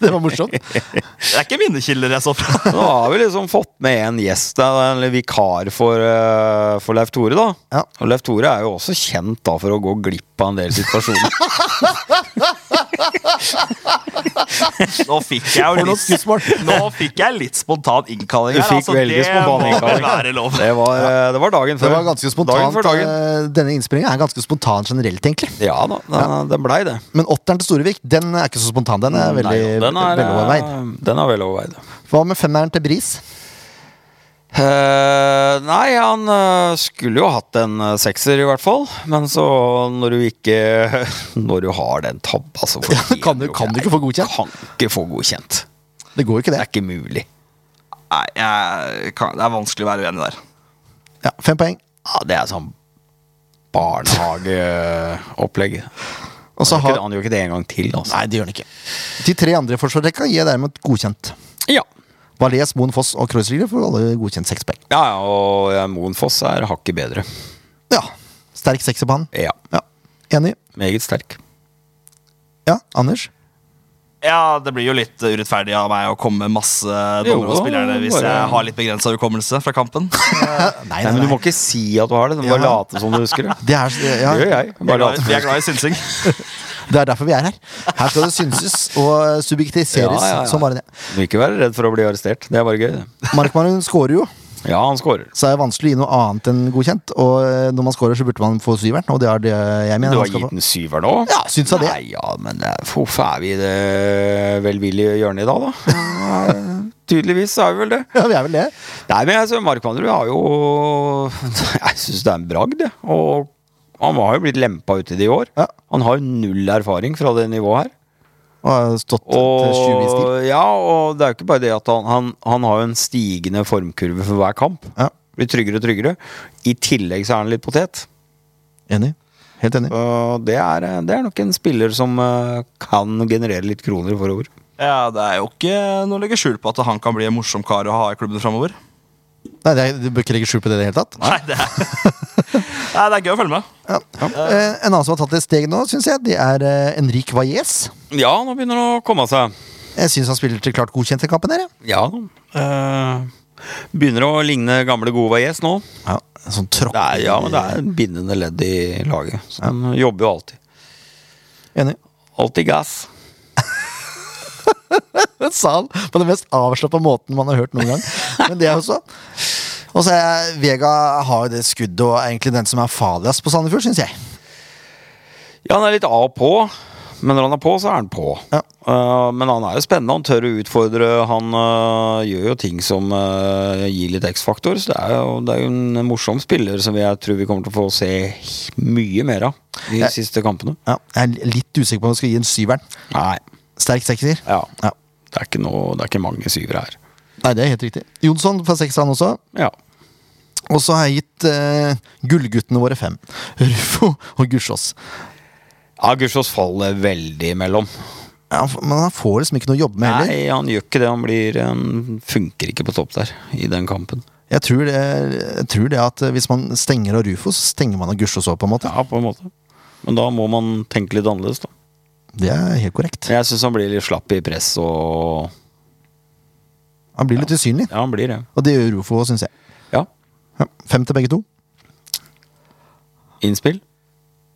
S1: Det var morsomt.
S3: det er ikke mine kilder jeg så fra.
S2: Nå har vi liksom fått med en gjest, da, eller vikar for, eh, for Leif Tore, da.
S1: Ja.
S2: Og Leif Tore er jo også kjent da for å gå glipp av en del situasjoner.
S3: Nå fikk jeg jo
S1: For noe
S3: litt,
S1: skussmål.
S3: nå fikk jeg litt spontan innkalling.
S2: Du
S3: her, altså.
S1: altså,
S2: fikk veldig spontan innkalling.
S3: Det må være lov.
S2: Det var, eh, det var dagen før.
S1: Det var ganske
S2: Dagen
S1: spontant.
S2: før dagen.
S1: eh, Denne innspillinga er ganske spontan generelt, egentlig.
S2: Ja da, den, den blei det.
S1: Men åtteren til Storevik den er ikke så spontan. Den er veldig
S2: Nei, den er, eh,
S1: veloverveid.
S2: Den er veloverveid.
S1: Hva med femmeren til Bris?
S2: Eh, nei, han eh, skulle jo hatt en eh, sekser, i hvert fall. Men så, når du ikke Når du har den tabba, så fortjener
S1: kan du-
S2: jo
S1: kan du
S2: det.
S1: ikke få godkjent?
S2: Kan ikke få godkjent.
S1: Det går jo ikke,
S2: Det
S1: det.
S2: er ikke mulig.
S3: Nei, jeg, kan, det er vanskelig å være uenig der.
S1: Ja, Fem poeng.
S2: Ja, det er sånn barnehageopplegg.
S1: Og så
S2: Han,
S1: har
S2: har... han gjør ikke det en gang til, altså.
S1: Nei, det gjør den ikke. De tre andre i forsvarsrekka gir jeg derimot godkjent.
S2: Ja.
S1: Valais, Moen, Foss og Kreuzriger får alle godkjent seks poeng.
S2: ja, ja, og ja, Moen Foss er hakket bedre.
S1: Ja. Sterk sekser på han.
S2: Ja.
S1: Ja. Enig.
S2: Meget sterk.
S1: Ja, Anders?
S3: Ja, Det blir jo litt urettferdig av meg å komme med masse
S2: Jo,
S3: dommere og spillere hvis
S2: bare-
S3: jeg har litt begrensa hukommelse fra kampen.
S1: Nei,
S2: Nei, men du må ikke si at du har det, du må bare
S1: Ja.
S2: late som du husker det.
S1: Det er, ja,
S2: Det gjør jeg.
S3: Vi er
S2: Bare
S3: glad,
S2: late som
S3: vi
S2: jeg
S3: er glad i synsing.
S1: det er derfor vi er her. Her skal det synses og subjektiseres
S2: Ja, ja, ja.
S1: som bare det.
S2: Må ikke være redd for å bli arrestert. Det er bare gøy. det.
S1: Markmann hun scorer jo,
S2: Ja, han scorer.
S1: Så er det vanskelig å gi noe annet enn godkjent. Og eh, når man scorer, så burde man få syveren, og det er det jeg
S2: Du
S1: mener.
S2: har
S1: han skal
S2: gitt
S1: få.
S2: en syver nå?
S1: Ja, syns jeg det.
S2: Nei, ja, men det er- hvorfor er vi i det velvillige hjørnet i dag, da? Ja, Tydeligvis er vi vel det.
S1: Ja, vi er vel det.
S2: Nei, men altså, Mark Vanderud har jo Jeg syns det er en bragd, jeg. Og han har jo blitt lempa uti det i år.
S1: Ja.
S2: Han har jo null erfaring fra det nivået her.
S1: Og har stått til 20 i stil.
S2: Og, ja, og det er jo ikke bare det at han, han, han har jo en stigende formkurve for hver kamp.
S1: Ja,
S2: Blir tryggere og tryggere. I tillegg så er han litt potet.
S1: Enig. Helt enig.
S2: Og det er, eh, det er nok en spiller som eh, kan generere litt kroner forover.
S3: Ja, Det er jo ikke noe å legge skjul på at han kan bli en morsom kar å ha i klubben framover.
S1: Nei, det er, Du bør ikke legge skjul på det i det hele tatt.
S3: Nei, det er, Nei, det er gøy å følge med.
S1: Ja. Eh, en annen som har tatt et steg nå, syns jeg, det er eh, Enrik Valles.
S2: Ja, nå begynner det å komme seg.
S1: Jeg syns han spiller til klart godkjent i kampen her, jeg.
S2: Ja, eh, Begynner å ligne gamle gode Valles nå.
S1: Ja, en sånn tråkk.
S2: Det er, ja, men det er et bindende ledd i laget. Så han jobber jo alltid.
S1: Enig.
S2: Alltid gass.
S1: Det sa han på den mest avslappa måten man har hørt noen gang. Men det også. Og så er Vega har jo det skuddet og er egentlig den som er farligst på Sandefjord, syns jeg.
S2: Ja, han er litt av og på. Men når han er på, så er han på.
S1: Ja.
S2: Eh, men han er jo spennende. Han tør å utfordre. Han eh, gjør jo ting som eh, gir litt X-faktor. Så det er, jo, det er jo en morsom spiller som jeg tror vi kommer til å få se mye mer av de
S1: Ja.
S2: siste kampene.
S1: Ja, jeg er litt usikker på om jeg skal gi en syveren.
S2: Nei.
S1: Sterk sekser.
S2: Ja.
S1: Ja.
S2: Det er ikke, noe, det er ikke mange syvere her.
S1: Nei, det er helt riktig. Jonsson får seks, han også.
S2: Ja.
S1: Og så har jeg gitt eh, gullguttene våre fem. Rufo og Gussiås.
S2: ja Gustavs faller veldig imellom.
S1: Ja, han f- men han får liksom ikke noe å jobbe med heller.
S2: Nei, han gjør ikke det. Han blir Han funker ikke på topp der i den kampen.
S1: Jeg tror, det, jeg tror det at eh, hvis man stenger av Rufo, så stenger man av Gussiås òg, på en måte.
S2: Ja, på en måte. Men da må man tenke litt annerledes, da.
S1: Det er helt korrekt.
S2: Jeg syns han blir litt slapp i press og
S1: Han blir litt usynlig,
S2: Ja, han blir det.
S1: og det gjør Rufo òg, syns jeg.
S2: Ja.
S1: Ja, fem til begge to.
S2: Innspill?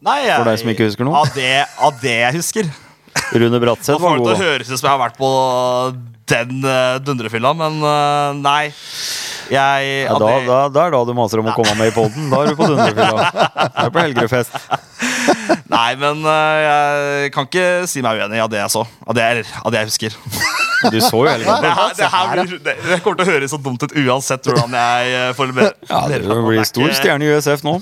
S3: Nei, jeg,
S2: For deg som ikke husker noe.
S3: Av det, av det jeg husker.
S2: Rune
S3: Det
S2: Bratseth
S3: får
S2: var
S3: det til å
S2: god. da.
S3: høres ut som jeg har vært på den eh, dundrefylla, men eh, nei. Jeg,
S2: Ja,
S3: av
S2: da,
S3: det-
S2: da, det er da du maser om å komme med i poden. Da er du på dundrefylla. Du er på Helgerudfest.
S3: Nei, men eh, jeg kan ikke si meg uenig av det jeg så. Av det, jeg- av det jeg husker.
S2: Du så jo hele
S3: Det
S2: kampen.
S3: her, det her blir, det, det kommer til å høres så dumt ut uansett hvordan jeg eh, formulerer.
S2: Ja, det
S3: er
S2: blir stor
S3: ikke-
S2: stjerne i USF nå.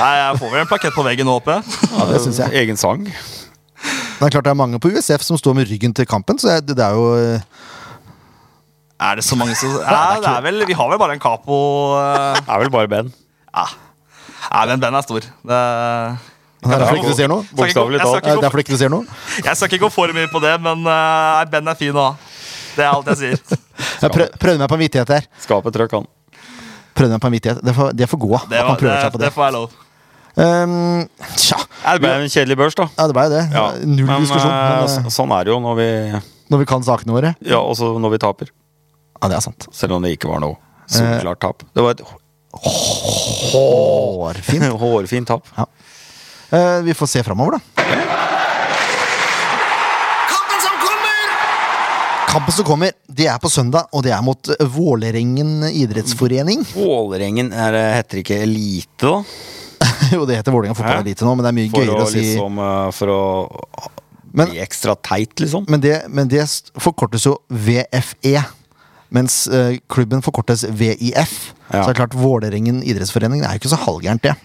S3: Nei, jeg får vel en plakett på veggen nå, håper jeg.
S1: Ja, det syns jeg.
S2: Egen sang.
S1: Det er klart det er mange på USF som står med ryggen til kampen, så jeg- det det er jo eh,
S3: Er det så mange som Nei, det er vel Vi har vel bare en capo eh,
S2: Er vel bare Ben.
S3: Ja. Nei, men den er stor. Det,
S1: Det er derfor ikke du ser noe.
S3: Jeg skal ikke gå-
S2: Bokstavelig
S3: jeg skal
S1: Det er
S3: ikke gå-
S1: derfor ikke du ser noe.
S3: Jeg skal ikke gå for mye på det, men eh, nei, Ben er fin å ha. Det er alt jeg sier.
S1: Jeg prøv, prøvde meg på en vittighet her.
S2: Skapet trøkk, han.
S1: Prøvde meg på en vittighet. Det er for, det er for god,
S3: Det,
S1: at man
S3: var, det,
S1: prøver seg på
S3: det
S1: det.
S3: får jeg lov.
S1: Ehm, tja,
S2: Ja, det ble en kjedelig børs, da.
S1: ja, det ble jo det.
S2: Ja,
S1: Null
S2: men,
S1: diskusjon.
S2: eh,
S1: Men,
S2: så- sånn er det jo når vi
S1: eh, når vi kan sakene våre.
S2: Ja, også når vi taper.
S1: Ja, det er sant.
S2: Selv om det ikke var noe soleklart tap. Eh, Det var et
S1: Hårfint.
S2: hårfint tap.
S1: Eh, vi får se framover, da. Kampen som kommer, det er på søndag, og det er mot eh, Vålerengen idrettsforening.
S2: Vålerengen er, eh, heter ikke elite, da?
S1: jo, det heter Vålerenga
S2: Hæ?
S1: fotballelite nå, men det er mye
S2: For
S1: gøyere
S2: å,
S1: å, si
S2: liksom, eh, for å
S1: Men,
S2: bli ekstra teit, liksom.
S1: men, det, men det st- forkortes jo VFE, mens eh, klubben forkortes VIF.
S2: Ja.
S1: Så det er klart, Vålerengen idrettsforening det er jo ikke så halvgærent, det.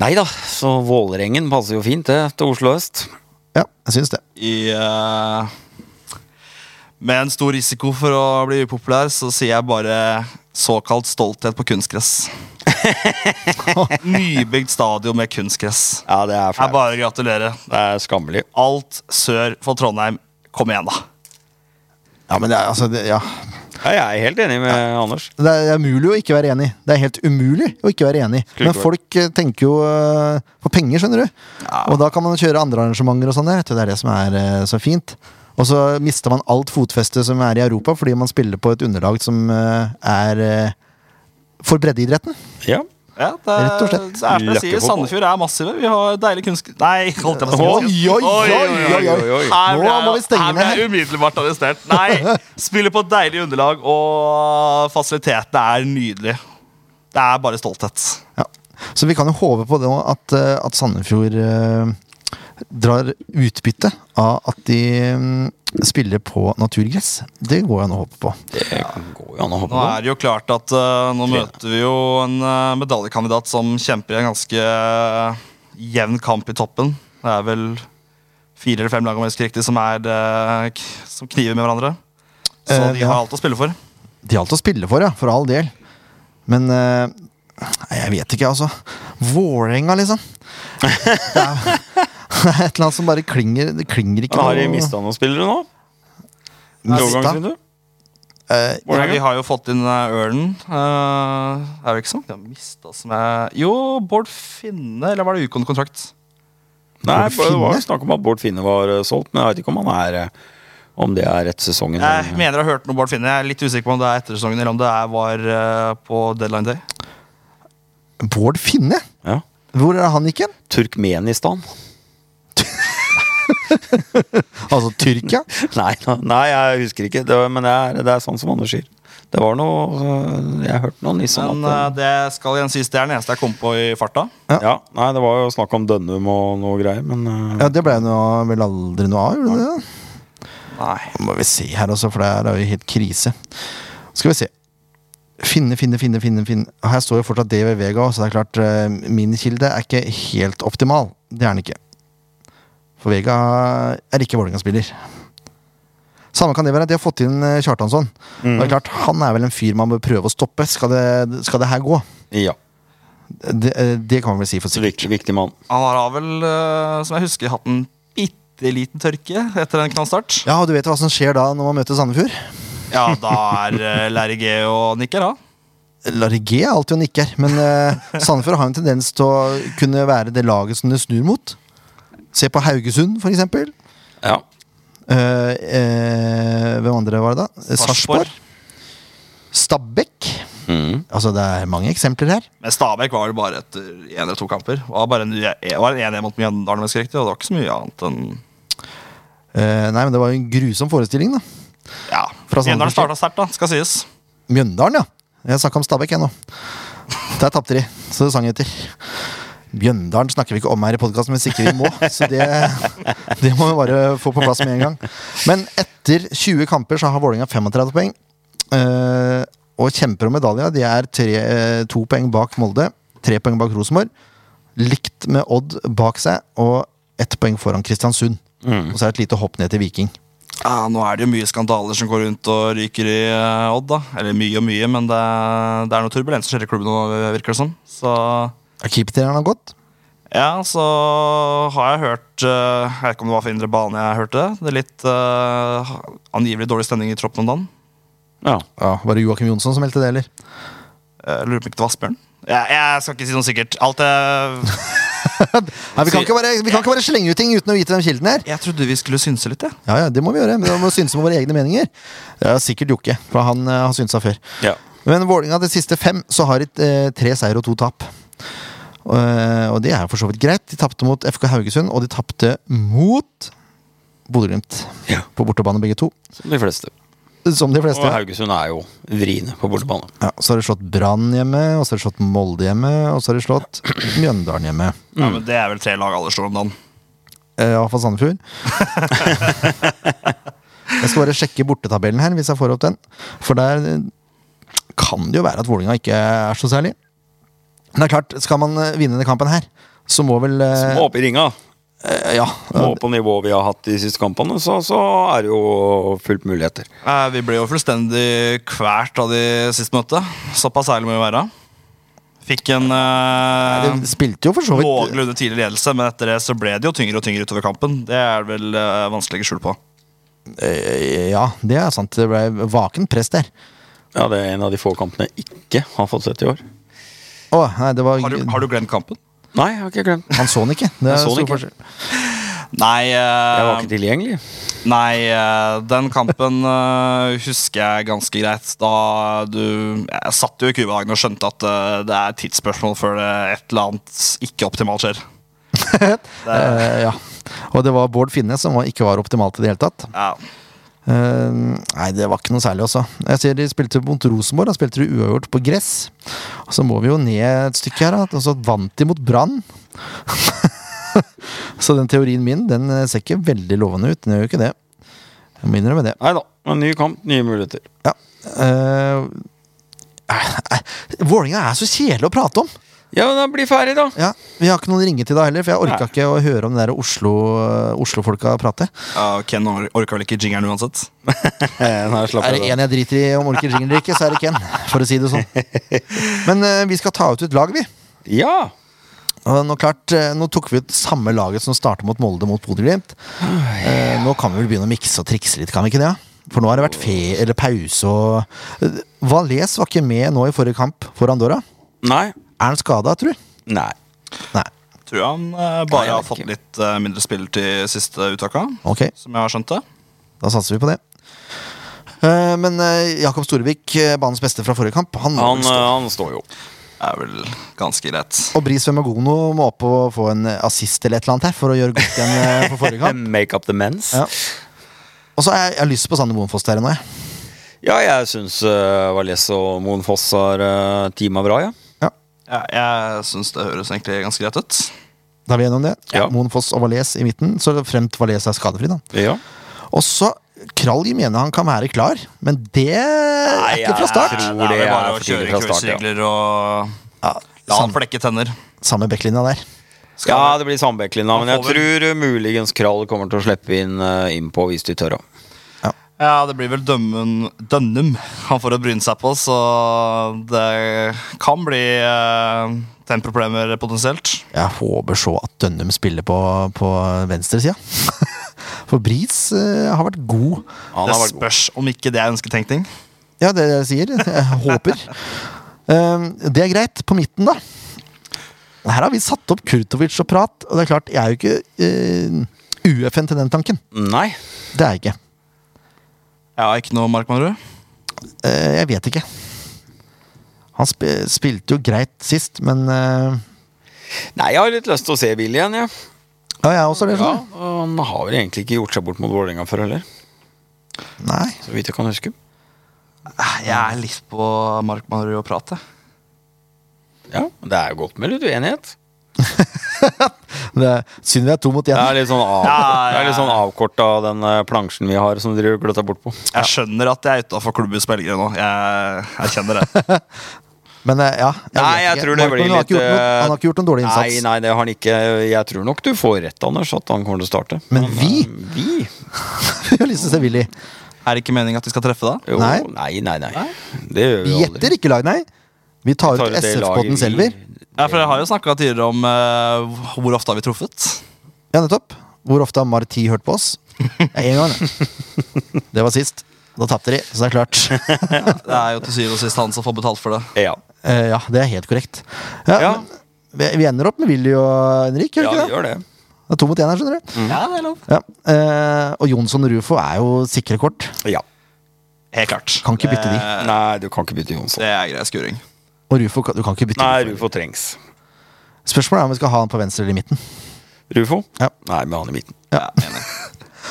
S2: Nei da, så Vålerengen passer jo fint det, til Oslo øst.
S1: Ja, jeg syns det.
S3: I, eh, med en stor risiko for å bli upopulær, så sier jeg bare såkalt stolthet på kunstgress. Nybygd stadion med kunstgress.
S2: Ja, det er
S3: Jeg
S2: flaut.
S3: bare gratulerer.
S2: Det er skammelig.
S3: Alt sør for Trondheim, kom igjen, da.
S1: Ja, men det er, altså, det, ja.
S2: Ja, jeg er helt enig med Anders.
S1: det er, det er mulig å ikke være enig. Det er helt umulig å ikke være enig.
S2: Skulle
S1: Men
S2: ikke vært.
S1: folk eh, tenker jo eh, på penger, skjønner du.
S3: Ja.
S1: Og da kan man kjøre andre arrangementer og sånn der. vet du. Det er det som er eh, så fint. Og så mister man alt fotfeste som er i Europa, fordi man spiller på et underlag som eh, er eh, for breddeidretten.
S2: Ja.
S3: Ja, det,
S1: Rett og slett.
S3: det er som jeg sier,
S2: Løkkefotball.
S3: Sandefjord er massive. Vi har deilig kunnskap Nei, holdt jeg på å si.
S1: Oi, oi, oi, oi, oi,
S2: oi.
S3: Her ble
S1: Nå
S3: jeg-
S1: må vi stenge
S3: her ble jeg umiddelbart arrestert. Nei, spiller på et deilig underlag, og fasilitetene er nydelige. Det er bare stolthet.
S1: Ja. Så vi kan jo håpe på det nå, at, eh, at Sandefjord eh, drar utbytte av at de mm, spiller på naturgress. Det går an å håpe på.
S2: Det går jo an å
S3: Nå
S2: håpe på.
S3: er det jo klart at eh, nå møter vi jo en eh, medaljekandidat som kjemper i en ganske eh, jevn kamp i toppen. Det er vel fire eller fem lag om jeg husker riktig som, er, eh, k- som kniver med hverandre. Så
S1: Eh,
S3: de
S1: ja.
S3: har alt å spille for.
S1: De har alt å spille for, ja, for all del. Men eh, nei, jeg vet ikke, altså. Vålerenga, liksom. Det er, det er et eller annet som bare klinger. Det klinger ikke
S2: Men har de mista noen spillere nå?
S1: Mistet?
S2: Overgangsvindu?
S1: Eh,
S3: Ja,
S2: Vålerenga?
S3: vi har jo fått inn eh, Ørnen. Eh, er det ikke sånn? De har mista som jeg Jo, Bård Finne, eller var det Ukon-kontrakt?
S1: Bård
S2: Nei, det var
S1: Finne?
S2: jo snakk om at Bård Finne var eh, solgt, men jeg vet ikke om han er eh, Om det er rett sesongen.
S3: Jeg mener jeg har hørt noe om Bård Finne. Jeg er litt usikker på om det er etter sesongen eller om det er var eh, på deadline day.
S1: Bård Finne?
S2: Ja.
S1: Hvor er han gikk hen?
S2: Turkmenistan?
S1: Altså Tyrkia?
S2: Nei, da- nei, jeg husker ikke. Det var, men det er, det er sånn som Anders sier. Det var noe eh, Jeg hørte noe
S1: Sånn
S2: niss om
S3: Men
S2: at
S3: eh, det skal igjen sies, det er den eneste jeg kom på i farta.
S2: eh, øh, Ja, nei, det var jo snakk om Dønnum og noe greier, men eh,
S1: Ja, det ble noe, vel aldri noe av, gjorde det det?
S3: Nei.
S1: Nå må vi se her også, for det her er jo helt krise. Skal vi se. Finne, finne, finne, finne, finne. Her står jo fortsatt DV Vega, så det er klart eh, min kilde er ikke helt optimal. Det er den ikke. For Vega er ikke Vålerenga-spiller. Samme kan det være. De har fått inn eh, Kjartansson. Og det er klart, Han er vel en fyr man bør prøve å stoppe. Skal det, skal det her gå?
S2: ja.
S1: Det, eh, det kan man vel si for
S2: Så
S1: sikkert.
S2: viktig, viktig mann.
S3: Han har vel, eh, som jeg husker, hatt en bitte liten tørke etter en knallstart.
S1: Ja, og Du vet hva som skjer da når man møter Sandefjord?
S3: Ja, da er eh, Larry G og nikker, da.
S1: Larry G er alltid og nikker, men eh, Sandefjord har en tendens til å kunne være det laget som det snur mot. Se på Haugesund, for eksempel.
S2: Ja.
S1: Eh, eh, hvem andre var det, da? Eh, Sarpsborg. Stabæk.
S2: Mhm.
S1: Altså, det er mange eksempler her.
S3: Men Stabæk var vel bare etter én eller to kamper. Det var bare en det var en 1-1 mot Mjøndalen, om jeg husker riktig, og det var ikke så mye annet enn
S1: Eh, nei, men det var jo en grusom forestilling, da.
S3: Ja.
S1: Fra
S3: Mjøndalen
S1: Sandefjord.
S3: starta sterkt, da, skal sies.
S1: Mjøndalen, ja. Jeg snakka om Stabæk, jeg nå. Der tapte de, så det sang etter. Mjøndalen snakker vi ikke om her i podkasten, hvis ikke vi må. Så det, det må vi bare få på plass med en gang. Men etter 20 kamper så har Vålerenga 35 poeng. Eh, og kjemper om medalja. De er tre, eh, to poeng bak Molde, tre poeng bak Rosenborg. Likt med Odd bak seg, og ett poeng foran Kristiansund. Og så er det et lite hopp ned til Viking.
S3: Ja, Nå er det jo mye skandaler som går rundt og ryker i eh, Odd, da. Eller mye og mye, men det, det er noe turbulens som skjer i klubben nå, virker det som. Så
S1: Keepertreneren har gått.
S3: Ja, så har jeg hørt eh, Jeg vet ikke om det var for indre bane jeg hørte det. Det er litt eh, angivelig dårlig stemning i troppen om dagen.
S2: ja.
S1: Ja, var det Joakim Jonsson som meldte det, eller?
S3: Jeg Eh, lurer på om ikke det var Asbjørn. Ja, jeg skal ikke si noe sikkert. Alt jeg
S1: Nei, vi, kan ikke bare, vi kan ikke bare slenge ut ting uten å vite hvem kilden er.
S3: Jeg trodde vi skulle synse litt, jeg.
S1: Ja, ja, Det må vi gjøre. Men vi må synse om våre egne meninger. Det er sikkert Jokke, for han eh, har synsa før.
S2: ja.
S1: Men Vålinga de siste fem så har de eh, tre seier og to tap. Eh, og det er jo for så vidt greit. De tapte mot FK Haugesund, og de tapte mot Bodø-Glimt.
S2: Ja.
S1: På bortebane, begge to.
S2: Som de fleste.
S1: Som de
S2: Og
S1: fleste. Ja.
S2: Haugesund er jo vriene på bortebane.
S1: Ja, så har de slått Brann hjemme, og så har de slått Molde hjemme, og så har de slått Mjøndalen hjemme.
S3: Ja, men det er vel tre lag alle slår om dagen.
S1: Eh, Iallfall Sandefjord. jeg skal bare sjekke bortetabellen her, hvis jeg får opp den. For der eh, kan det jo være at Vålinga ikke er så særlig. Men det er klart, skal man eh, vinne denne kampen her, så må vel eh,
S2: Må opp i ringa.
S1: eh, Ja.
S2: Må opp på nivået vi har hatt de siste kampene, så, så er det jo fullt muligheter.
S3: Eh, Vi ble jo fullstendig kvært av de siste møtene. Såpass ærlig må vi være. Fikk en eh,
S1: De spilte jo for så vidt
S3: noenlunde tidlig ledelse, men etter det så ble det jo tyngre og tyngre utover kampen. Det er det vel eh, vanskelig å legge skjul på.
S1: eh, Ja, det er sant. Det ble vakent press der.
S2: Ja, Det er en av de få kampene jeg ikke har fått sett i år.
S1: Å, nei, det var
S3: Har du, har du glemt kampen?
S2: Nei, jeg har ikke glemt.
S1: Han så den ikke. Det
S2: Jeg
S1: er
S2: så den
S1: stor
S2: ikke.
S1: forskjell.
S3: Nei,
S2: Jeg var
S3: eh,
S2: ikke tilgjengelig.
S3: nei eh, den kampen eh, husker jeg ganske greit. Da du Jeg satt jo i kubehagen og skjønte at eh, det er et tidsspørsmål før det et eller annet ikke optimalt skjer. Det,
S1: Eh, ja. Og det var Bård Finnes som var, ikke var optimalt i det hele tatt.
S3: ja.
S1: Eh, nei, det var ikke noe særlig, også. Jeg ser de spilte mot Rosenborg, da spilte de uavgjort på gress. Og så må vi jo ned et stykke her, da. Og så vant de mot Brann. så den teorien min, den eh, ser ikke veldig lovende ut. Den gjør jo ikke det. Jeg må innrømme det.
S2: Nei da. En ny kamp, nye muligheter.
S1: Ja. Eh, eh, Vålinga er så kjedelig å prate om!
S2: Ja, men da blir ferdig, da.
S1: Ja, Vi har ikke noen å ringe til da heller, for jeg orka
S2: Nei.
S1: ikke å høre om det der Oslo- eh, Oslo-folka prate.
S3: ja, Ken or- orka vel ikke jingeren uansett?
S2: Nei, slapp
S1: Er det
S2: av.
S1: en jeg driter i om orker ringer eller ikke, så er det Ken. For å si det sånn. Men eh, vi skal ta ut et lag, vi.
S2: Ja.
S1: Og nå, klart, eh, nå tok vi ut samme laget som startet mot Molde mot Bodø-Glimt. Eh, nå kan vi vel begynne å mikse og trikse litt, kan vi ikke det? For nå har det vært fe eller pause og eh, Valais var ikke med nå i forrige kamp for Andorra.
S2: Nei.
S1: Er han skada, tror du?
S2: Nei.
S1: Nei.
S3: Tror jeg han eh,
S2: Nei, jeg
S3: bare har
S2: vet
S3: fått
S2: ikke.
S3: litt eh, mindre spill til siste uttaka,
S1: Ok,
S3: som jeg har skjønt det.
S1: da satser vi på det. Eh, men eh, Jakob Storevik, eh, banens beste fra forrige kamp, han, må
S2: Han,
S1: vel
S2: eh,
S1: stå.
S2: han står jo.
S3: Er vel ganske greit.
S1: Og Bris Vemagono må opp og få en eh, assist eller et eller annet her for å gjøre godt igjen eh, for forrige kamp.
S2: Make up the mens.
S1: Ja. Og så har jeg, jeg har lyst på Sander Bonfoss der nå, jeg.
S2: Ja, jeg syns uh, Valles og Moen Foss har uh, teama bra, ja.
S1: Ja.
S3: Ja, jeg syns det høres egentlig ganske greit ut.
S1: Da er vi enige om det.
S2: Ja.
S1: Moen Foss og Valais i midten, så fremt Valais er skadefri, da.
S2: ja.
S1: Og så Kralj mener han kan være klar, men det er ikke fra
S2: jeg
S1: start.
S2: tror
S3: Nei,
S2: det
S3: vel
S2: er
S3: bare å
S2: for
S3: kjøre
S2: tidlig fra start, ja.
S3: krusrygler og
S1: Ja,
S3: la han
S1: samme,
S3: flekke tenner.
S1: samme backlinja der.
S2: ja, det blir Sandbekklinja, men jeg
S3: Han får vel-
S2: tror uh, muligens Krall kommer til å slippe inn uh, innpå hvis de tør. da.
S3: Ja, det blir vel Dømmen, Dønnum han får å bryne seg på, så det kan bli eh, tempoproblemer potensielt.
S1: Jeg håper så at Dønnum spiller på, på venstresida. For Bris eh, har vært god.
S2: Han
S3: det
S2: har vært god.
S3: spørs om ikke det er ønsketenkning.
S1: Ja, det er det jeg sier. Jeg håper. Ehm, det er greit. På midten, da. Her har vi satt opp Kurtovic og prat, og det er klart, jeg er jo ikke eh, UFN til den tanken.
S2: Nei.
S1: Det er jeg ikke.
S3: Jeg har ikke noe, Mark Mannerud.
S1: Eh, jeg vet ikke. Han sp spilte jo greit sist, men eh,
S2: Nei, jeg har litt lyst til å se Bill igjen, jeg.
S1: Ja, jeg også, det.
S2: Ja.
S1: skjønner
S2: og Han har vel egentlig ikke gjort seg bort mot Vålerenga før heller,
S1: du. Nei.
S2: så vidt jeg kan huske.
S3: Ah, Jeg er litt på Mark Mannerud og prate.
S2: Ja, men Det er jo godt med litt uenighet.
S1: Det er synd vi er to mot
S2: Det
S1: én.
S2: er litt sånn, av,
S3: Ja, ja,
S2: det er litt sånn avkorta den uh, plansjen vi har som dere gløtta bort på.
S3: Jeg skjønner at jeg er utafor klubbhus Belgere nå. Jeg, jeg kjenner det.
S1: Men eh, ja. Jeg
S2: Nei,
S1: vet
S2: jeg
S1: ikke.
S2: tror det
S1: Markmann
S2: blir
S1: har ikke
S2: litt
S1: gjort noe- Han har ikke gjort noen dårlig
S2: Nei,
S1: innsats.
S2: nei, det har han ikke. Jeg tror nok du får rett, Anders, at han kommer til å starte.
S1: Men
S2: eh,
S1: vi?
S2: vi?
S1: Vi har lyst til å se Willy.
S3: Er det ikke meningen at vi skal treffe da?
S2: Jo,
S1: Nei.
S2: nei. nei, nei, Det gjør
S1: Vi
S2: vi aldri.
S1: gjetter ikke lag, nei. Vi tar,
S2: Tar
S1: ut
S2: ut det laget
S1: SF-podden
S2: vi-
S1: Selver.
S3: Ja, for jeg har jo snakka tidligere om eh, hvor ofte har vi truffet.
S1: Ja, nettopp. Hvor ofte har Marti hørt på oss? Ja, Én gang. ja. Det var sist. Da tapte de, så det er klart.
S3: Det er jo til syvende og sist han som får betalt for det.
S2: Ja.
S1: Eh, ja, det er helt korrekt. Ja,
S2: Ja.
S1: men Vi, vi ender opp med Willy og Henrik, gjør
S2: ja,
S1: vi
S2: vi
S1: ikke det?
S2: gjør det.
S1: Det er to mot én her, skjønner du.
S3: Ja, det er lov.
S1: Ja. Eh, og Jonsson og Rufo er jo sikre kort.
S2: Ja.
S3: Helt klart.
S1: Kan ikke bytte de.
S3: Det-
S2: Nei, du kan ikke bytte Jonsson.
S3: Det er grei skuring.
S1: Og Rufo kan- du kan ikke bytte.
S2: Nei,
S1: Rufo.
S2: Rufo trengs.
S1: Spørsmålet er om vi skal ha han på venstre eller i midten.
S2: Rufo?
S1: Ja.
S2: Nei, med han i midten.
S3: Ja. enig.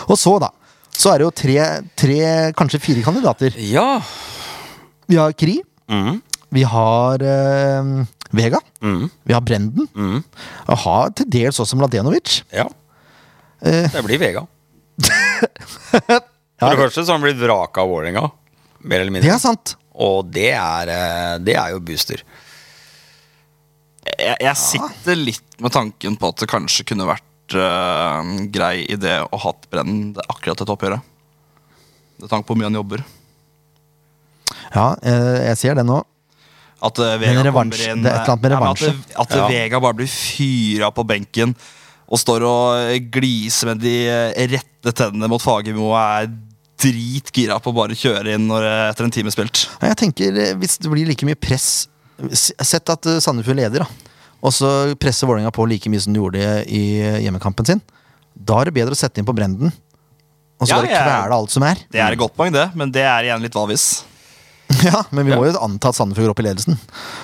S1: Og så, da. Så er det jo tre, tre kanskje fire kandidater.
S2: Ja.
S1: Vi har Kri.
S2: Mhm.
S1: Vi har eh, Vega.
S2: Mhm.
S1: Vi har Brenden.
S2: Mhm.
S1: Og har til dels også Mladenovic.
S2: ja.
S1: Eh.
S2: Det blir Vega. For det første så har han blitt vraka av Vålerenga. Mer eller
S1: Det
S2: mindre.
S1: er sant.
S2: Og det er, eh, det er jo booster.
S3: Jeg, jeg sitter litt med tanken på at det kanskje kunne vært eh, en grei idé å ha brennen det er akkurat dette oppgjøret. Med tanke på hvor mye han jobber.
S1: Ja, eh, jeg ser det nå.
S3: At eh, Vega
S1: revansj.
S3: kommer inn eh,
S1: Det er et eller annet med
S3: Ja, men
S1: revansje.
S3: At, at
S2: Ja.
S3: Vega bare blir fyra på benken og står og eh, gliser med de eh, rette tennene mot Fagermo og er dritgira på å bare kjøre inn når, eh, etter en time spilt.
S1: Ja, Jeg tenker eh, Hvis det blir like mye press s- Sett at eh, Sandefjord leder, da. Og så presser Vålerenga på like mye som de gjorde i eh, hjemmekampen sin. Da er det bedre å sette inn på Brenden. Og så
S3: Ja,
S1: bare
S3: jeg-
S1: kvele alt som er.
S3: Det er et godt poeng, det, men det er igjen litt hva hvis.
S1: Ja, Men vi må jo anta at Sandefjord går opp i ledelsen.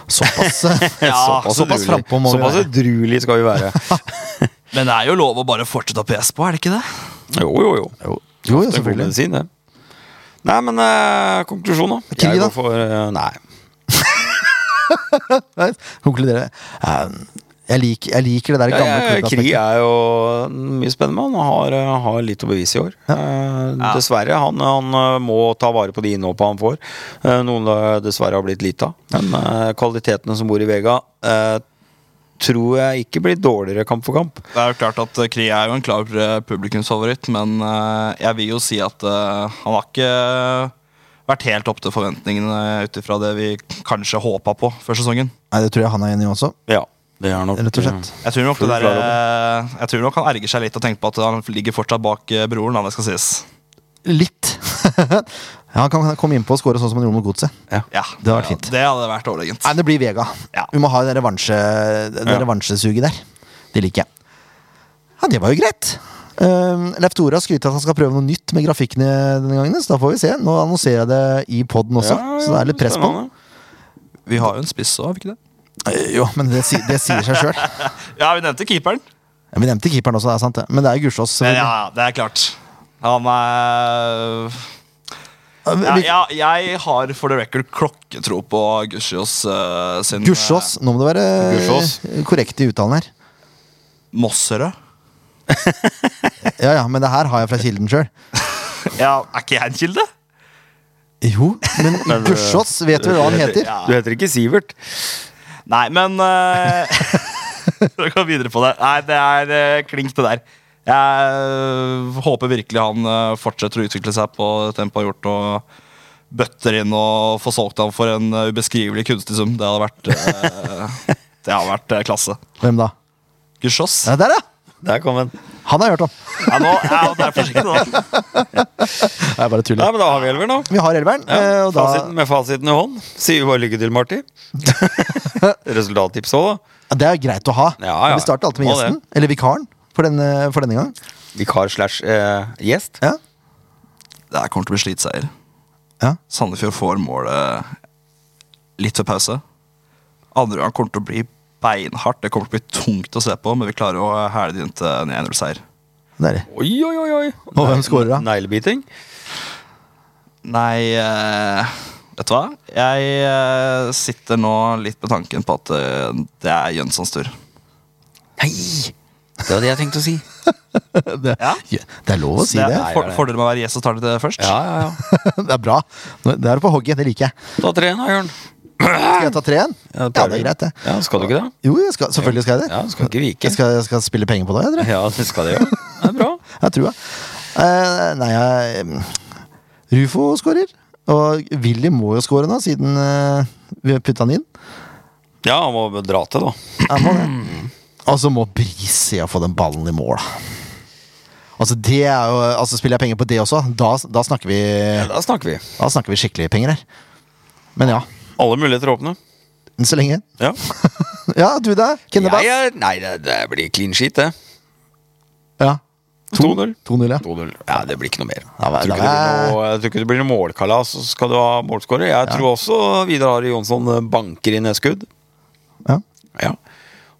S1: Såpass, eh,
S3: Ja,
S1: såpass, såpass
S2: edruelig-
S1: frampå må vi
S2: såpass
S1: være.
S2: edruelig skal vi være.
S3: Men det er jo lov å bare fortsette å pese på, er det ikke det?
S2: Jo, jo, jo.
S1: Jo, jo,
S2: Det er god
S1: selvfølgelig.
S2: medisin, det. Nei, men eh, konklusjon, da.
S1: Kri, da?
S2: går for eh, Nei.
S1: Nei, Konkludere. Eh, Jeg, lik, jeg liker det der gamle
S2: Eh, Kri
S1: klubbaspektet.
S2: er jo mye spennende. Han har, eh, har litt å bevise i år. Eh,
S3: Ja.
S2: Dessverre. Han, han eh, må ta vare på de innhoppa han får. Eh, Noen det dessverre har blitt lite av. Men eh, kvalitetene som bor i Vega, eh, tror jeg ikke blir dårligere kamp for kamp.
S3: Det er jo klart at eh, Kri er jo en klar eh, publikumsfavoritt, men eh, jeg vil jo si at eh, han har ikke vært helt opp til forventningene ut ifra det vi kanskje håpa på før sesongen.
S1: Nei, Det tror jeg han er enig i også.
S2: Ja, det er nok
S1: Rett og slett.
S3: Jeg tror nok,
S2: Full
S3: det der,
S2: klar
S3: eh, jeg tror nok han erger seg litt og tenker på at han ligger fortsatt bak eh, broren. da, det skal sies.
S1: Litt. ja, han kan komme innpå og score sånn som han gjorde mot Godset.
S3: Ja,
S1: Det hadde vært fint.
S3: Det hadde vært overlegent.
S1: Nei, det blir Vega.
S3: Ja.
S1: Vi må ha det revansje, det
S2: Ja.
S1: revansjesuget der. Det liker jeg. Ja, det var jo greit. Um, Leif Tore har skrytt av at han skal prøve noe nytt med grafikkene denne gangen. Så da får vi se. Nå annonserer jeg det i poden også,
S2: Ja,
S1: så det er litt press på.
S2: spennende.
S3: Vi har jo en spiss òg, har vi ikke det?
S1: Eh, Jo, men det, si, det sier seg sjøl.
S3: Ja, vi nevnte keeperen.
S1: Vi nevnte keeperen også, det er sant det. Men det er jo Gursås.
S3: Men ja, ja, det er klart. Han er ja,
S1: selvfølgelig.
S3: ja, Jeg har for the record klokketro på Gussiås eh, sin
S1: Gursås. Nå må det være eh,
S2: Gursås.
S1: korrekt i uttalen her.
S3: eh, Mosserød.
S1: Ja, ja, men det her har jeg fra kilden sjøl.
S3: Ja, er ikke jeg en kilde?
S1: Jo, men Gursås vet vi hva han heter.
S3: Ja.
S2: eh, Du heter ikke Sivert.
S3: Nei, men eh, For å gå videre på det. Nei, det er eh, klink, det der. Jeg eh, håper virkelig han eh, fortsetter å utvikle seg på tempoet har gjort, og bøtter inn og får solgt ham for en eh, ubeskrivelig kunstig sum. Det hadde vært eh, Det hadde vært eh, klasse.
S1: Hvem da?
S3: Gussiås.
S1: Ja, der, ja!
S2: Der kom den.
S1: Han har jeg hørt om.
S3: Ja, nå ja, det er forsiktig, da.
S1: Nei, jeg bare tuller.
S2: Nei, men da har vi elveren, da.
S1: Vi har elveren, eh, og da
S2: fasiten, med fasiten i hånd sier vi bare lykke til, Marti. Resultattips òg, da.
S1: Ja, Det er jo greit å ha.
S2: Ja, ja.
S1: Vi starter alltid med
S2: Må det.
S1: gjesten, eller vikaren, for denne, for denne gang.
S2: Vikar slash eh, gjest.
S1: Ja.
S3: Det her kommer til å bli slitseier.
S1: Ja.
S3: Sandefjord får målet litt før pause. Andre gang kommer til å bli beinhardt. Det kommer til å bli tungt å se på, men vi klarer å hæle det inn til en 1-0-seier.
S1: Det er det.
S2: Oi, oi, oi, oi.
S1: Og hvem scorer, da?
S2: Neglebiting.
S3: Nei, eh, vet du hva? Jeg eh, sitter nå litt med tanken på at eh, det er Jønssons tur.
S2: Nei! Det var det jeg tenkte å si.
S1: Det,
S3: Ja.
S1: ja, det er lov å si
S3: det
S1: det.
S2: Nei,
S3: er for,
S2: det er det.
S3: fordelen med å være gjest og starte det først.
S2: Ja, ja, ja.
S1: Det er bra. Nå- Det er du på hogget, det liker jeg.
S2: Ta tre, da, Jørn.
S1: Skal jeg ta treen?
S2: Ja,
S1: Ja,
S2: tar
S1: det er
S2: du.
S1: greit, det.
S2: Ja, skal du ikke det?
S1: Jo, jeg skal, selvfølgelig skal jeg det.
S2: Ja, du skal ikke vike.
S1: Jeg skal, jeg skal spille penger på det, jeg tror jeg.
S2: Ja, det skal det gjøre. Det er bra.
S1: Jeg tror det. Eh, nei, jeg mm, Rufo skårer. Og Willy må jo skåre nå, siden eh, vi putta han inn.
S2: Ja, han må dra til, da.
S1: Jeg må det. Og så må Brisia få den ballen i mål. da. Altså, det er jo, altså Spiller jeg penger på det også, da, da, snakker vi,
S2: Ja, da snakker vi.
S1: da snakker vi skikkelig penger her. Men ja,
S2: Alle muligheter åpne.
S1: enn så lenge.
S2: Ja.
S1: Ja, du da, Kennebass.
S2: Jeg er- nei, det, det blir clean sheet, det.
S1: Ja,
S2: 2-0.
S1: 2-0, ja.
S2: 2-0. Ja, det blir ikke noe mer.
S1: Ja, men
S2: jeg, tror
S1: det
S2: ikke det
S1: er-
S2: blir noe, jeg tror ikke det blir noe målkalas, så skal du ha målskårer. Jeg tror også Vidar Ari Jonsson banker inn et skudd.
S1: ja.
S2: Ja.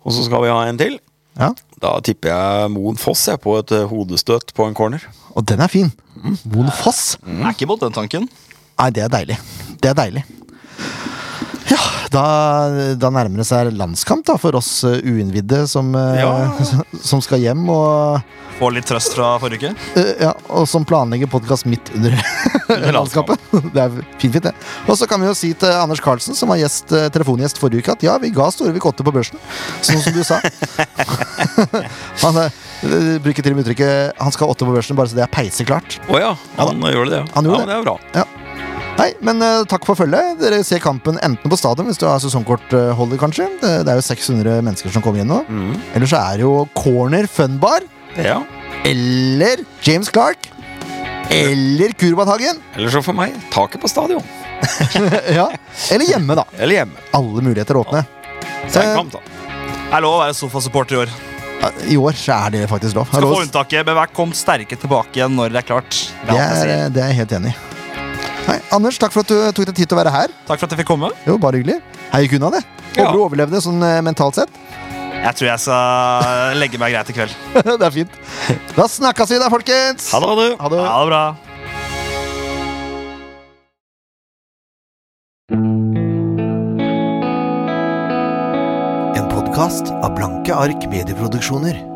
S2: Og så skal vi ha en til.
S1: ja.
S2: Da tipper jeg Moen Foss jeg, på et eh, hodestøt på en corner.
S1: Og den er fin. Moen Foss.
S3: Jeg er ikke mot den tanken.
S1: Nei, det er deilig. Det er deilig. Ja, da, da nærmer det seg landskamp da, for oss eh, uinnvidde som, eh,
S2: Ja.
S1: som skal hjem. Og
S3: Får litt trøst fra forrige uke.
S1: Eh, ja, og som planlegger podkast midt under landskapet. Det er fint, fint, det. Og så kan vi jo si til Anders Carlsen, som var gjest, eh, telefongjest forrige uke, at ja, vi ga Storevik åtte på børsen, sånn som du sa. han eh, bruker til og med uttrykket 'han skal ha åtte på børsen', bare så det er peiseklart.
S2: Å ja, han gjør det, ja.
S1: Han gjorde
S2: ja, men det er bra.
S1: Ja. Nei, men eh, takk for følget. Dere ser kampen enten på stadion, hvis du har sesongkortholder, kanskje. Det, det er jo 600 mennesker som kommer inn nå.
S3: Mm.
S1: Eller så er det jo corner funbar.
S2: Ja.
S1: Eller James Clark. Eller Kurbanhagen.
S2: Eller så for meg, taket på stadion.
S1: ja. Eller hjemme, da.
S2: Eller hjemme.
S1: Alle muligheter åpne.
S2: Seinkamp, da.
S3: Det er lov å være sofasupporter i år.
S1: I år så er det faktisk lov.
S3: Skal
S1: Hallo.
S3: få unntaket, men vær kom sterke tilbake igjen når det er klart.
S1: Det
S3: Det er alt jeg
S1: er,
S3: sier.
S1: det er jeg helt enig i. Nei, Anders, takk for at du eh, tok deg tid til å være her.
S3: Takk for at jeg fikk komme.
S1: Jo, bare hyggelig. Her gikk unna, det. Håper
S3: Ja.
S1: du overlevde sånn eh, mentalt sett.
S3: Jeg tror jeg skal legge meg greit i kveld.
S1: det er fint. Da snakkes vi da, folkens!
S2: Ha det, ha det.
S1: Ha det.
S3: Ha det bra.
S4: En podkast av Blanke ark medieproduksjoner.